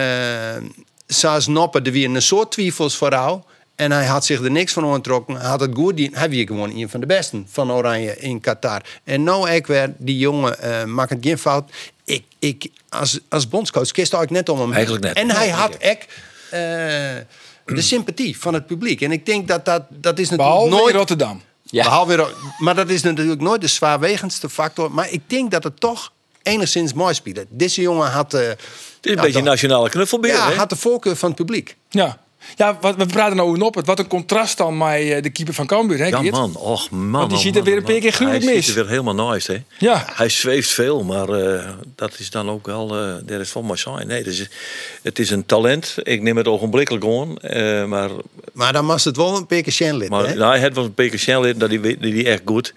S7: Saas Noppen, er weer een soort twijfels voor jou. En hij had zich er niks van ontrokken. Hij had het goed gedaan. Hij was gewoon een van de besten van Oranje in Qatar. En nou ik weer, die jongen eh maakt geen fout. Ik, ik, als, als bondscoach kist ik net om hem. heen.
S6: Eigenlijk net.
S7: En hij had echt... eh, de sympathie van het publiek. En ik denk dat dat, dat is natuurlijk
S3: Behalve
S7: nooit...
S3: in Rotterdam.
S8: Ja.
S7: Behalve in Ro- maar dat is natuurlijk nooit de zwaarwegendste factor. Maar ik denk dat het toch enigszins mooi speelde. Deze jongen had... eh,
S6: Het is een
S7: ja,
S6: beetje een
S7: toch-
S6: nationale knuffelbeer.
S7: Ja,
S6: hè?
S7: had de voorkeur van het publiek.
S3: Ja. Ja, wat, we praten nou over Noppert. Wat een contrast dan met eh, de keeper van Cambuur, hè
S6: Ja,
S3: Geert?
S6: man. Och, man.
S3: Want die
S6: oh,
S3: ziet er
S6: man,
S3: weer een
S6: man.
S3: paar keer gruwelijk
S6: Hij
S3: mis.
S6: ziet er weer helemaal nice, hè?
S3: Ja.
S6: Hij zweeft veel, maar eh, dat is dan ook wel... eh daar is van maar zijn. Nee, dus, het is een talent. Ik neem het ogenblikkelijk aan. eh, maar
S7: Maar dan was het wel een pikke Shenlit.
S6: maar nou, hij had wel een beetje snel in, dat die, weet- die, die echt goed.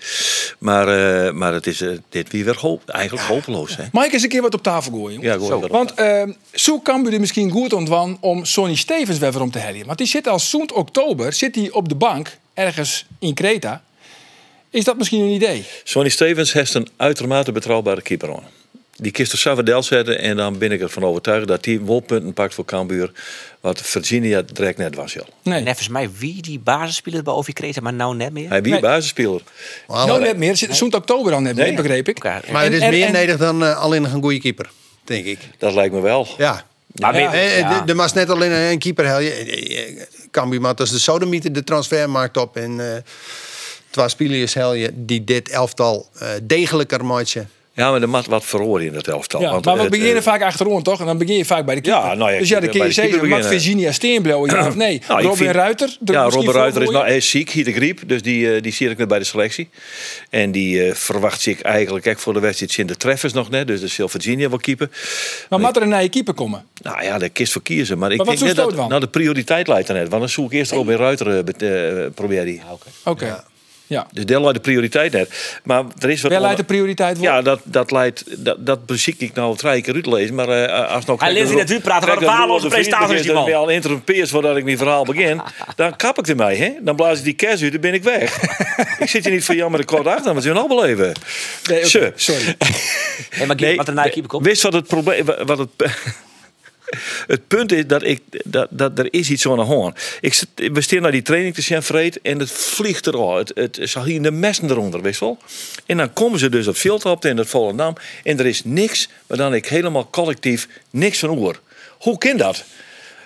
S6: Maar, eh, maar het is eh, dit weer weer hoop, eigenlijk hopeloos, hè?
S3: Mag ik eens een keer wat op tafel gooien? jongen?
S6: Ja, ik hoor
S8: Zo.
S6: het wel.
S3: Want ehm zo kan er misschien goed ontwan om Sonny Stevens weer om te hellen. Want die zit al zoend oktober zit hij op de bank ergens in Kreta. Is dat misschien een idee?
S6: Sonny Stevens heeft een uitermate betrouwbare keeper aan. Die kist er Savadel zetten en dan ben ik ervan overtuigd dat die wolpunten pakt voor Cambuur. Wat Virginia direct net was, joh.
S3: Nee.
S8: En even mij, wie die basisspeler bij Ovi Kreta, maar nou net meer?
S6: Hij wie
S3: Nee.
S6: basisspeler.
S3: Nou net meer. Zit zoend oktober al net meer,
S6: Nee.
S3: begreep ik.
S8: Oké.
S7: maar het
S3: En-
S7: is
S3: en-
S7: meer
S3: en-
S7: nedig dan eh, alleen een goede keeper, denk ik.
S6: Dat lijkt me wel.
S7: Ja.
S8: Maar
S3: Ja.
S8: weer-
S7: Eh, eh,
S8: ja.
S7: de- Er was net alleen een keeper. hel je- eh, eh, Cambuur maakt als de sodemieter de transfermarkt op. En eh Twaspilius hel je die dit elftal eh, degelijker maatje.
S6: Ja, maar er mat wat verhoren in dat elftal.
S3: Ja,
S6: want
S3: maar we
S6: het,
S3: beginnen
S6: eh,
S3: vaak achterom, toch? En dan begin je vaak bij de keeper.
S6: Ja, nou ja,
S3: dus ja,
S6: bij
S3: dan
S6: de
S3: kun je
S6: keeper
S3: zeggen, Max
S6: beginnen.
S3: Virginia Steenblauw, ja
S6: (clears throat)
S3: of nee?
S6: nou, ik
S3: Robin
S6: vind-
S3: Ruiter? er misschien
S6: Ja, Robin
S3: voor
S6: Ruiter is,
S3: gooien?
S6: nou, hij is ziek, hij de griep. Dus die, eh, die zie ik net bij de selectie. En die eh, verwacht ik eigenlijk echt voor de wedstrijd in de treffers nog net. Dus de zal Virginia wel keeper.
S3: Maar mag er een nieuwe keeper komen?
S6: Nou ja, de kist voor kiezen. Maar ik
S3: Maar wat
S6: denk net
S3: zoekt
S6: dat
S3: Stoot dan?
S6: nou, de prioriteit lijkt er net. Want dan zoek ik eerst Robin Ruiter eh, bet- eh, probeer
S8: Ah,
S6: die.
S3: Oké. Ja.
S6: Dus daar lijkt de prioriteit net. Maar er is wat...
S3: Wel leidt de prioriteit voor?
S6: Ja, dat, dat leidt... Dat, dat beziek ik nou drie keer uitlezen. Maar eh, als nou...
S8: Hij leest niet uit praten, wat een waardeloze prestatie is die man.
S6: Dan ben al interrompeerd voordat ik mijn verhaal begin. Dan kap ik ermee, hè. Dan blaas ik die kerst uit, dan ben ik
S3: (laughs)
S6: weg. ik zit hier niet van jammer de kort achter, want ze zijn al beleven.
S3: Nee, oké,
S6: Zo.
S3: Sorry.
S8: Hey, maar
S6: Nee,
S8: wat er naar de keeper komt? Ah,
S6: Wist wat het probleem... Wat het, het punt is dat, ik, dat, dat er is iets aan de hand. Ik zit- we staan naar die training te zijn vreed en het vliegt er al. Het, het zag hier de messen eronder, wist wel. En dan komen ze dus op veld op in het Volendam en er is niks, maar dan ik helemaal collectief niks van oor. Hoe kan dat?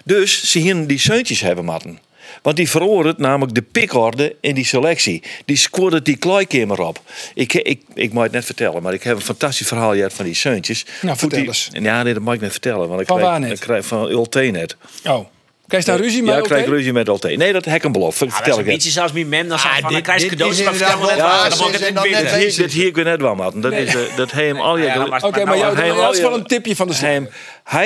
S6: Dus ze hier die zeuntjes hebben matten. Want die veroordeelt namelijk de pikorde in die selectie. Die scoorde die kleikemer op. Ik, ik, ik mag het net vertellen, maar ik heb een fantastisch verhaal gehad van die zeuntjes.
S3: Nou,
S6: Hoe die-
S3: vertel eens.
S6: Ja, nee, dat mag ik net vertellen. Want ik
S3: Van
S6: krijg,
S3: waar net?
S6: Ik krijg van Ulte net.
S3: Oh. Krijg je daar ruzie mee?
S6: Ja, ik krijg
S3: Oké.
S6: ruzie met Ulte. Nee, dat hek en beloof.
S8: Ja,
S6: vertel ik
S8: dat is
S6: net.
S8: een zelfs mijn
S3: Ah,
S8: mem, dan zeg ik van,
S7: dit-
S8: dan krijg je
S7: dit
S8: cadeaus,
S7: is
S8: maar vertel me net
S7: inderdaad
S8: waar,
S7: wel
S8: dan mag ik het
S7: waar.
S8: niet
S7: Ze zijn
S8: weten.
S7: dan net
S6: Hier- Dat hier ik weer net wel, Maarten. Dat, is, eh, dat heem al je...
S8: Ja, dan was-
S3: Oké, maar
S8: nou,
S3: jou-
S8: hij
S6: heeft
S3: dat is
S6: wel-
S3: wel een tipje van de slag.
S6: Hij,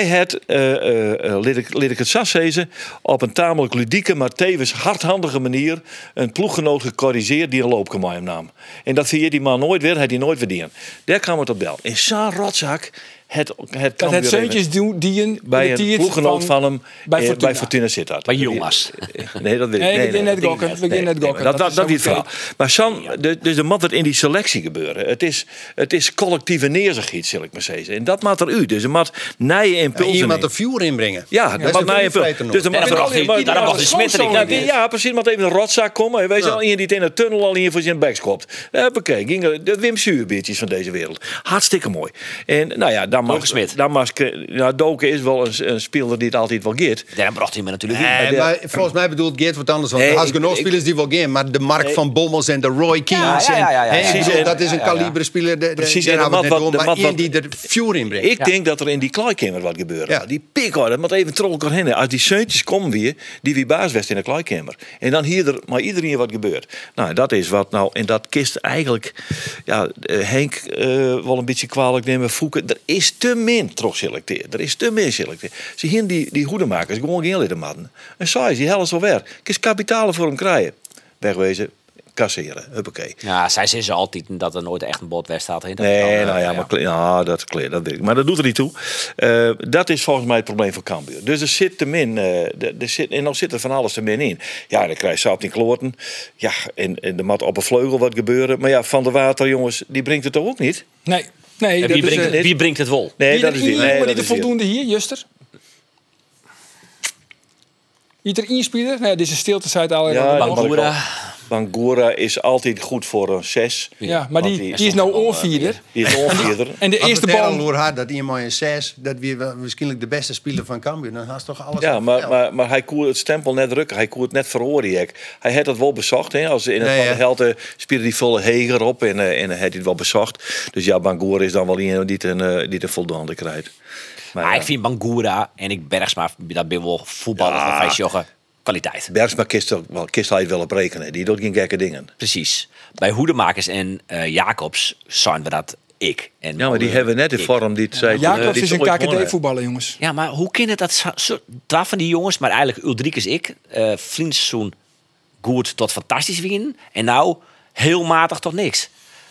S6: hij had, eh, eh, eh, liet, ik, liet ik het zas zezen, op een tamelijk ludieke, maar tevens hardhandige manier een ploeggenoot gecorrigeerd die een loopkemaai hem nam. En dat vind je die man nooit weer, hij die nooit verdienen. Daar kwam het op bel. In zo'n rotzak, het, het
S3: Dat
S6: kan
S3: het
S6: weer even-
S3: zeuntjes doen die een
S6: bij een ploeggenoot van, hem
S3: bij
S6: eh,
S3: Fortuna.
S6: bij Fortuna Sittard.
S8: Bij jongens.
S6: Nee, dat weet ik
S3: Nee,
S6: niet.
S3: we gingen net gokken, we gingen net gokken.
S6: Dat,
S3: Dat
S6: dat,
S3: is
S6: dat
S3: zo
S6: is het verhaal. Maar Sam, de, dus er moet wat in die selectie gebeuren. Het is, het is collectieve neerzigheid, zal ik maar zeggen. En dat maakt er u. Dus er moet nieuwe impulsen in.
S7: Iemand de vuur inbrengen.
S6: Ja, dat
S7: is
S6: mag
S7: een
S6: mij
S7: goede
S6: even.
S7: vreter
S6: Dus dan
S8: nog.
S6: mag
S8: Ja, dat mag
S6: er
S8: niet. Ja, dat mag niet. Smetter ik
S6: Ja,
S8: niet.
S6: die- Ja, precies. Want even een rotzak komen. En wees al in die het in de tunnel al in voor zijn bek schopt. Huppakee. Ging er- de Wim Suurbeertjes van deze wereld. Hartstikke mooi. En nou ja, dan dan mag-
S8: Hogesmit.
S6: Dan mag, nou, Doken is wel een, een speler die het altijd wel geeft.
S8: Daarom bracht hij me natuurlijk niet.
S7: Nee,
S6: de-
S7: maar volgens mij bedoelt Geert wat anders. Want
S6: Nee,
S7: er zijn
S6: ik-
S7: genoeg
S6: ik-
S7: spelers die wel game. Maar de Mark van Bommels en de Roy Keens.
S8: ja, ja, ja,
S7: en-
S8: ja,
S7: hè,
S8: ja,
S7: ik
S8: ja.
S7: bedoel, Dat is een
S8: Ja, ja, ja.
S7: kaliber speler. de- de-
S6: Precies,
S7: daar
S6: en de
S7: hebben we
S6: mat
S7: het net
S6: wat-
S7: over, Maar
S6: de mat
S7: één die er vuur in brengt.
S6: Ik denk dat er in die kleikamer wat gebeurt.
S7: Ja.
S6: Die pikhoor, dat moet even troll kan hinnen. Als die zeuntjes komen weer, die wie baaswest in de kleikamer. En dan hier er maar iedereen wat gebeurt. Nou, dat is wat nou. En dat kist eigenlijk, ja, eh, Henk eh, wel een beetje kwalijk nemen. Fouke, er is te min trots selecteerd. Er is te min selecteerd. Ze hier die, die hoedemakers gewoon geen lid matten. En saai is die helft al weg. Ik is kapitalen voor hem krijgen. Wegwezen, kasseren. Huppakee.
S8: Ja, zij zeggen ze altijd dat er nooit echt een botwest staat. hè. Dat
S6: Nee,
S3: Oh,
S8: kan, eh,
S6: nou ja, maar kle- ja, dat is clear, dat weet ik. Maar dat doet er niet toe. Eh, dat is volgens mij het probleem van Cambuur. Dus er zit te min, eh, er er zit, en dan zit er van alles te min in. Ja, dan krijg je zout in kloorten. Ja, en, en er moet op een vleugel wat gebeuren. Maar ja, Van der Water, jongens, die brengt het toch ook niet?
S3: Nee, nee.
S8: En
S3: dat
S8: wie,
S3: is,
S8: brengt,
S3: eh,
S8: het- wie brengt het wol?
S6: Nee,
S3: Ieder
S6: dat is niet.
S3: één
S6: Nee,
S3: jongen
S6: dat
S3: die
S6: is
S3: er
S6: niet.
S3: voldoende hier, Juster? Ieder inspieler? Nee, dit is een stilte, zei het al.
S6: Ja,
S3: Ja,
S6: dat
S3: maar,
S6: mag ik
S8: Bangura.
S6: wel. Bangura is altijd goed voor een 6.
S3: ja, maar die,
S6: Want die-
S3: die is nou onvierder.
S6: Die is onvierder.
S3: En de
S7: Als
S3: eerste
S7: het er al
S3: bal...
S7: door had dat iemand een 6, dat we wel misschien de beste speler van Cambuur. Dan had ze toch alles.
S6: Ja, maar,
S7: verteld.
S6: maar, maar hij koert het stempel net drukken. Hij koert net verhoren. hek. Hij had dat wel bezocht. Hè? Als in het
S7: Nee,
S6: van de
S7: hè.
S6: helden spieren die volle heger op en, eh, en hij had het wel bezocht. Dus ja, Bangoor is dan wel iemand die het een, eh, die het een voldoende krijgt. Maar,
S8: Maar
S6: ja,
S8: ik vind Bangura en ik Bergsma, dat ben wel voetballers
S6: Ja.
S8: van vijf joggen. Kwaliteit.
S6: Bergsma kist toch wel, kist hij het wel op rekenen. Die doet geen gekke dingen.
S8: Precies. Bij Hoedemakers en eh, Jacobs zijn we dat ik. En
S6: Ja, maar die
S8: eh,
S6: hebben net de
S8: ik.
S6: vorm die het zei.
S3: Jacobs is een
S6: voetbal.
S3: KKD-voetballer, jongens.
S8: Ja, maar hoe kan het dat zo- zo- twaalf van die jongens, maar eigenlijk Ulrikes ik, eh Vriendsoen goed tot fantastisch winnen en nou heel matig tot niks.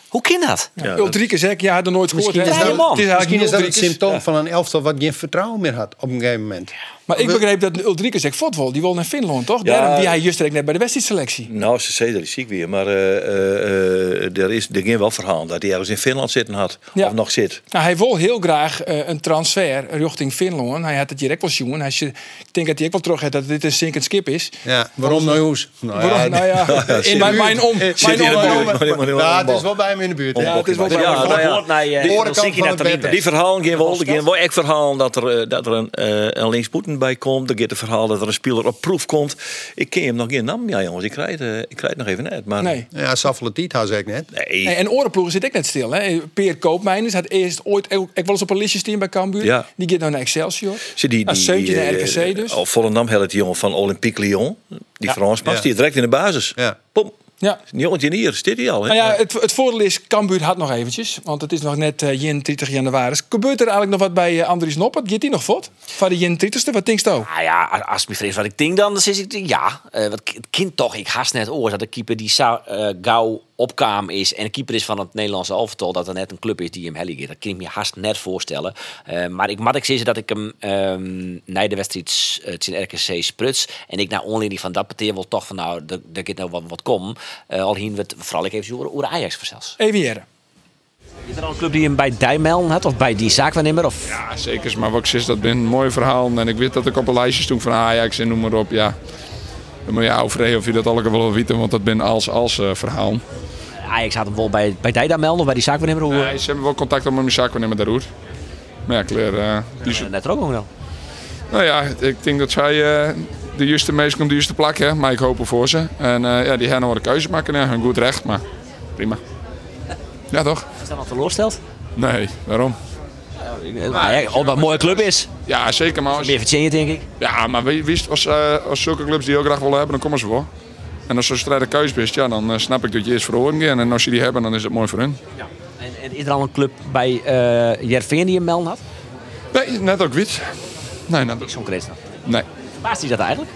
S8: Hoe kan dat?
S6: Ja, dat-
S3: Ulrike zeg, ja, had er nooit gehoord.
S7: Misschien
S3: hè?
S7: is
S8: Nee,
S7: dat,
S8: man.
S3: Het is eigenlijk
S7: misschien
S3: niet
S7: is dat het
S3: Ulrikes.
S7: symptoom van een elftal wat geen vertrouwen meer had op een gegeven moment.
S3: Maar ik begreep dat Ulrike zeg, Fotwol, die wil naar Finland, toch?
S6: Ja.
S3: Daarom die hij juist net bij de wedstrijdselectie.
S6: Nou, ze zei dat is ziek weer. Maar eh, eh, eh, er is er ging wel verhaal dat hij ergens in Finland zitten had.
S3: Ja.
S6: Of nog zit.
S3: Nou, hij wil heel graag eh, een transfer richting Finland. Hij had het direct wel zien. Hij, zei- ik denk dat hij ook wel terug had dat dit een sinkend skip is.
S7: Ja, waarom nou hoes? Nou
S6: Oh
S3: Waarom? nou
S6: (laughs)
S3: ja, in mijn, mijn om.
S7: Zit
S3: Mijn
S6: in de
S3: om.
S6: buurt. Maar die- maar die-
S7: Ja, het is wel bij hem in de buurt. hè?
S3: Ja, het is wel
S6: Ja,
S3: grappig.
S6: nou ja.
S7: Die andere kant van het bed.
S6: Die verhaal geen wel. Geen wel echt verhaal dat er, eh, dat er een, eh een linkspoeten bij komt. Er gaat het verhaal dat er een speler op proef komt. Ik ken hem nog geen naam. Ja, jongens, ik krijg het, eh, ik krijg het nog even net. Maar eh,
S3: Nee.
S7: Ja, Saffaletiet had ik net.
S6: nee.
S3: Nee, en orenploegen zit ik net stil. Hè. Peer Koopmeiners had eerst ooit ook, ik was op een listje team bij Cambuur.
S6: Ja.
S3: Die gaat nou naar Excelsior.
S6: Zie die,
S3: Nou,
S6: die,
S3: Seuntje
S6: die,
S3: naar
S6: eh,
S3: RKC dus.
S6: oh, Volendam had het jongen van Olympique Lyon. Die Fransman,
S7: Ja.
S6: die direct in de basis.
S7: Ja.
S6: Pom.
S3: Ja.
S6: Die jongetje hier, zit hij al. hè?
S3: Nou
S6: (laughs)
S3: ja, het, het voordeel is, Cambuur had nog eventjes. Want het is nog net eh, 31 januari. Gebeurt er eigenlijk nog wat bij eh, Andries Noppert? Gaat die nog voort? Van de 31ste? Wat denkst je?
S8: Nou ja, als- als me vrees wat ik denk dan, dan is ik ja. eh, wat ki- het kind toch, ik haast net oor dat de keeper die zou, eh, gauw opkaam is en de keeper is van het Nederlandse elftal, dat er net een club is die hem helligeert. Dat kan ik me haast net voorstellen. Eh, maar ik mag ik zeggen dat ik hem ehm na de wedstrijd eh, tegen RKC spruts en ik naar onleiding van dat beteer wel toch van nou, er er gaat nou wat, wat kom. Eh, al hien we het vooral ik even over over Ajax voor zelfs.
S3: Even hier.
S8: Is er al een club die hem bij Dijmel had of bij die zaakwaarnemer of?
S2: Ja, zeker. Maar wat ik zeg, dat ben een mooi verhaal. En ik weet dat ik op een lijstje stond van Ajax en noem maar op. Ja. Dan moet je overreden of je dat allemaal wil weten, want dat ben als als eh, verhaal.
S8: Ajax had hem wel bij bij Dijmel of bij die zaakwaarnemer hoe? eh,
S2: Nee, ze hebben wel contact op met mijn zaak wanneer daarover. Maar ja, kleur. eh, die is-
S8: eh, net er ook nog wel.
S2: nou ja, ik denk dat zij eh, de juiste meest komt de juiste plak, hè. Maar ik hoop er voor ze. En eh, ja, die gaan nog wel een keuze maken. Ja, hun goed recht, maar prima. Ja, toch?
S8: Is dat al teleurgesteld?
S2: Nee, waarom?
S8: Nou, eh, Ajax, wat oh, een mooie club is.
S2: Ja, zeker. Maar als,
S8: Meer verdien je, denk ik.
S2: Ja, maar wie- wist, als, eh, als zulke clubs die heel graag willen hebben, dan komen ze voor. En als ze strijden keus bent, ja, dan eh, snap ik dat je eerst verloren gaat. En als je die hebben, dan is het mooi voor hun.
S8: En, en is er al een club bij eh Jervin die een melden had?
S2: Nee, net ook wit. Nee, net ook.
S8: Niks concreets dan.
S2: Nee.
S8: Waar is die dat eigenlijk?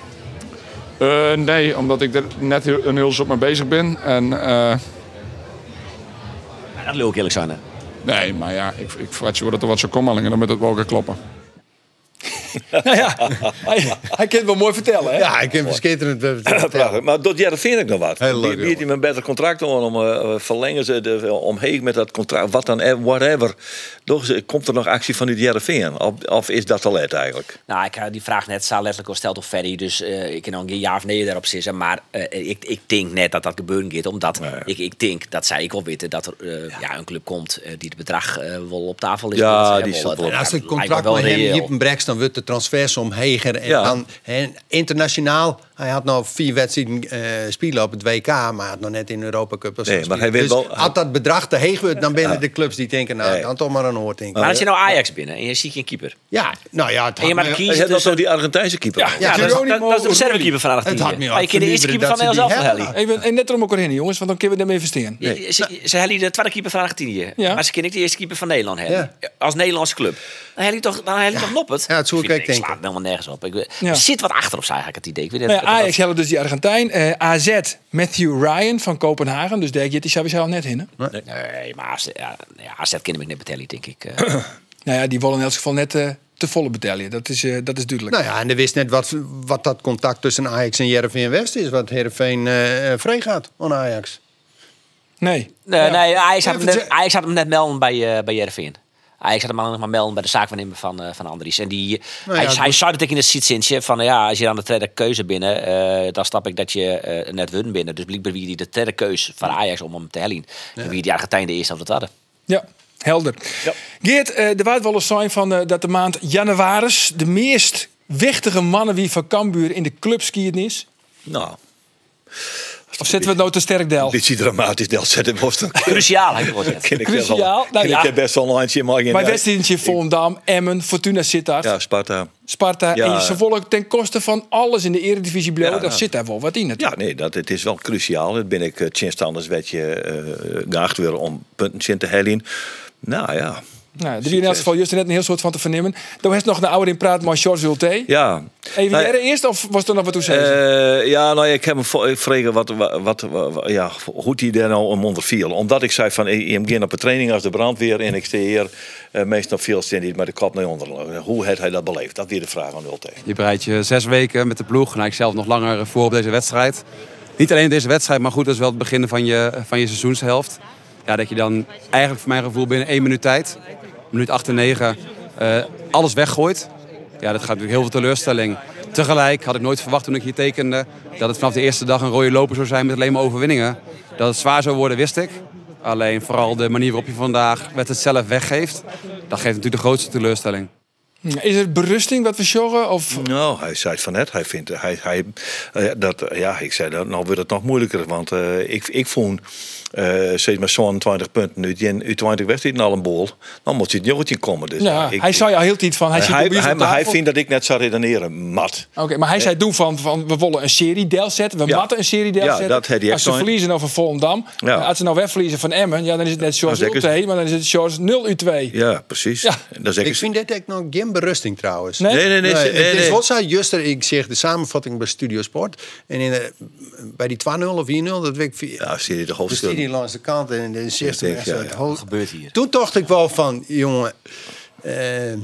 S2: Eh, nee, omdat ik er net heel- een heel zot mee bezig ben. En, eh,
S8: dat wil ik eerlijk zijn.
S2: nee, maar ja, ik, ik verwacht je dat er wat zo komen, alleen dan moet het wel gaan kloppen.
S3: nou ja, hij, hij kan het wel mooi vertellen, hè?
S7: Ja, ik vind het eh, verschitterend.
S6: Prachtig. Maar dat jaar vind ik nog wat.
S7: Heel leuk,
S6: Bied- Biedt hij
S7: jongen.
S6: me een beter contract om, om eh, verlengen ze de, omheen met dat contract, wat dan, eh, whatever. Doch, ze- komt er nog actie vanuit Jereveen? Of, of is dat te laat eigenlijk?
S8: Nou, ik had die vraag net zo letterlijk al stelt op Ferry. Dus eh, ik kan nog een ja of nee daarop zitten. Maar eh, ik, ik denk net dat dat gebeuren gaat. Omdat ik, ik denk, dat zij ik al weten, dat er eh, ja. een club komt eh, die het bedrag eh, wel op tafel is.
S6: Ja,
S8: Dat, eh,
S6: die
S8: wel,
S6: zal
S8: eh,
S6: wel.
S7: En als het
S8: lijkt me
S7: contract
S8: wel
S7: met hem
S8: reëel.
S7: Jepen brekst, dan wordt de transfersom heger. En
S6: Ja.
S7: dan hè, internationaal, hij had nog vier wedstrijden eh, spelen op het WK, maar hij had nog net in de Europa Cup. als
S6: Nee,
S7: hij
S6: maar
S7: speelde.
S6: hij wil
S7: dus
S6: wel-
S7: als dat bedrag te heeg wordt, dan binnen de clubs die denken, nou,
S6: Nee.
S7: dan toch maar een hoort denken.
S8: Maar als je nou Ajax binnen en je ziet geen keeper.
S7: Ja, nou ja, het
S8: En je
S7: had
S8: maar
S7: me-
S6: Hij had
S8: kiezen
S6: nog
S8: tussen...
S6: zo die Argentijnse keeper.
S7: Ja,
S8: Ja, dat, is-
S7: Geronimo
S8: dat, dat is de reservekeeper van
S7: Het had me
S8: Argentinië. Maar je kan de eerste
S7: afgeleverd dat
S8: keeper van
S7: ze
S8: Nederland
S7: die
S8: zelf
S7: hebben.
S8: hellen.
S3: Ik ben, en net erom ook heen, jongens, want dan kunnen we ermee investeren.
S8: Ze, ze hellen de tweede keeper van Argentinië.
S3: Ja.
S8: Maar ze kunnen niet de eerste keeper van Nederland hebben. Als Nederlandse club. Dan hellen toch, dan hellen toch Noppert.
S7: Ja, dat zou ik ook
S8: Ik
S7: denken.
S8: slaat helemaal nergens op. Ik,
S3: Ja.
S8: Er zit wat achter op zij eigenlijk het idee. Ik weet niet
S3: Nou
S8: of
S3: ja,
S8: dat-
S3: Ajax hebben dus die Argentijn. Eh, AZ, Matthew Ryan van Kopenhagen. Dus daar gaat die Sabi al net in. hè?
S8: Nee, maar AZ, ja, nee, AZ kan ik net betellen, denk ik. Eh,
S3: Nou ja, die willen in elk geval net eh, te volle betalen. Dat is, eh, dat is duidelijk.
S7: Nou ja, en er wist net wat, wat dat contact tussen Ajax en Heerenveen West is. Wat Heerenveen eh eh, vrij gaat aan Ajax.
S3: Nee.
S8: nee,
S3: Ja.
S8: nee Ajax, had hem
S7: Even
S8: net,
S7: ze-
S8: Ajax had hem net melden bij, eh bij Jervin. Ajax had hem alleen nog maar melden bij de zaakwaarnemer van, eh, van Andries. En die,
S7: Nou ja,
S8: hij,
S7: het
S8: hij
S7: moet-
S8: zei dat ik in het zitzintje van ja, als je dan de tweede keuze binnen, eh, dan snap ik dat je eh, net won binnen. Dus blijkbaar wie die de tweede keuze van Ajax om hem te hellen. En wie die Argentijn de eerste of de tweede.
S3: Ja, helder. Geert, eh, er was wel eens zijn van eh, dat de maand januari de meest wichtige mannen wie van Cambuur in de clubskiën is.
S6: Nou,
S3: Of zetten we het nou te sterk del?
S6: dit is dramatisch. Del zet hem op.
S8: Cruciaal, heb ik gehoord net.
S6: (laughs) Ken ik
S3: Cruciaal,
S6: wel-
S3: nou
S6: ken ik
S3: ja.
S6: heb best wel een handje in mijn
S3: Bij wedstrijdje Volendam, Emmen, Fortuna Sittard,
S6: Ja, Sparta.
S3: Sparta
S6: Ja.
S3: en ze volgen ten koste van alles in de eredivisie blauw.
S6: Ja,
S3: daar
S6: ja.
S3: zit daar wel wat in natuurlijk.
S6: Ja, nee, dat, het is wel cruciaal. Het ben ik Chinstanders werd je eh geacht weer om punten chin te hellen. Nou ja.
S3: Nou, er is in elk geval juist net een heel soort van te vernemen. Dan is nog een ouder in praat, maar George Wilté.
S6: Ja.
S3: Even
S6: Nou,
S3: jaren eerst of was er nog wat toe zeggen?
S6: eh, ja, nou, ik heb hem vo- ik vregen wat, wat, wat, wat- ja, hoe hij daar nou om onder viel. Omdat ik zei van, ik ik begin op een training als de brandweer en ik steer hier eh, meestal veel zin niet met de kop naar onder. Hoe had hij dat beleefd? Dat weer de vraag aan Ulte.
S9: Je bereidt je zes weken met de ploeg, nou ik zelf nog langer voor op deze wedstrijd. Niet alleen deze wedstrijd, maar goed, dat is wel het begin van je, van je seizoenshelft. Ja, dat je dan eigenlijk voor mijn gevoel binnen één minuut tijd, minuut 8 en 9, eh, alles weggooit. Ja, dat gaat natuurlijk heel veel teleurstelling. Tegelijk had ik nooit verwacht toen ik hier tekende dat het vanaf de eerste dag een rode loper zou zijn met alleen maar overwinningen. Dat het zwaar zou worden, wist ik. Alleen vooral de manier waarop je vandaag met het zelf weggeeft, dat geeft natuurlijk de grootste teleurstelling.
S6: Eh,
S3: Is het berusting wat we zorgen? Of
S6: Nou, hij zei het van net. Hij vindt hij, hij, eh, dat, eh, ja, ik zei dat, nou wordt het nog moeilijker. Want eh, ik, ik vond eh, steeds maar zo'n 20 punten. Nu die in- u 20 wedstrijden al een bol. Dan moet je het jongetje komen. Dus,
S3: ja,
S6: ik-
S3: hij zei al heel tijd van hij
S6: hij,
S3: zit
S6: hij,
S3: op
S6: hij,
S3: tafel.
S6: maar hij vindt dat ik net zou redeneren, mat.
S3: Oké, maar hij zei toen van, van we willen een serie deel zetten, we
S6: Ja.
S3: matten een serie deel
S6: Ja,
S3: zetten.
S6: dat had hij
S3: als
S6: echt
S3: ze
S6: zo in.
S3: verliezen over Volendam,
S6: Ja.
S3: als ze nou wegverliezen van Emmen, ja, dan is het net George
S6: Nou, zeker.
S3: 0-2, maar dan is het George 0 u 2
S6: Ja, precies.
S3: Ja.
S6: Dan zeg
S7: Ik vind dit echt nog geen berusting trouwens.
S3: Nee?
S6: Dus- Nee, nee, nee. nee,
S7: het is
S6: nee.
S7: wel zo, juster, ik zeg de samenvatting bij Studio Sport. En in de- bij die 2-0 of 4-0, dat weet ik... vi-
S6: Ja, zie je de
S7: de
S6: hoofdstuk.
S7: studie langs de kant en de zegt
S6: denk, ja, ja,
S7: Wat
S8: gebeurt hier?
S7: Toen dacht ik wel van, jongen, ehm,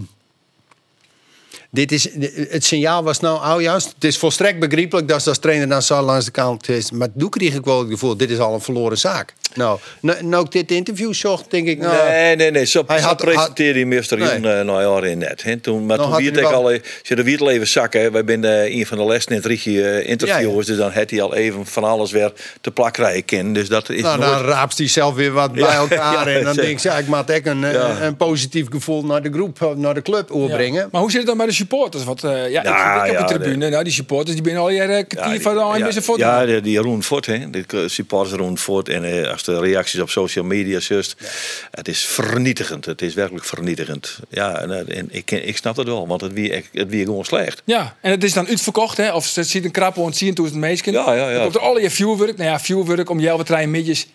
S7: dit is, het signaal was nou oud juist. Het is volstrekt begrijpelijk dat ze als trainer dan zo langs de kant is. Maar toen kreeg ik wel het gevoel, dit is al een verloren zaak. Nou, nou, nou ik dit interview zocht, denk ik, nou,
S6: Nee, nee, nee. Zo,
S7: Hij
S6: zo
S7: had-
S6: presenteerde hij Mr.
S7: Nee.
S6: Jon eh, nou ja, in net. hè. toen, maar
S7: Dan
S6: toen
S7: had
S6: wierd
S7: hij
S6: ik
S7: wel-
S6: al... eh, Ze de wierd al even zakken. hè. Wij zijn eh, een van de lessen in het rietje eh, interviewers.
S7: Ja, ja.
S6: Dus dan had hij al even van alles weer te plak krijgen. kunnen. Dus dat is
S7: Nou,
S6: nooit...
S7: dan raapt hij zelf weer wat bij
S6: Ja, (laughs)
S7: elkaar.
S6: ja,
S7: en dan
S6: zeker.
S7: denk ik, ja, ik maak echt een, een, een positief gevoel naar de groep, eh, naar de club oorbrengen.
S3: Maar hoe zit het dan bij de supporters? Want eh, ja,
S6: Nou,
S3: ik zit ook op de
S6: ja,
S3: tribune. Nou, die supporters die binnen al jaren een kwartier
S6: die-
S3: van de ja, foto.
S6: ja, die, die Jeroen Fort, hè? De k- supporters Jeroen Fort. En eh, als de reacties op social media zust. Het is vernietigend. Het is werkelijk vernietigend. Ja, en, eh, en ik, ik snap dat wel. Want het wie, het wie gewoon slecht.
S3: Ja, en het is dan uitverkocht, hè? Of ze ziet een krappe ontzien toen het meesken.
S6: Ja, ja, ja.
S3: Dan komt er al je viewwork. Nou ja, viewwork om jou wat trein midjes.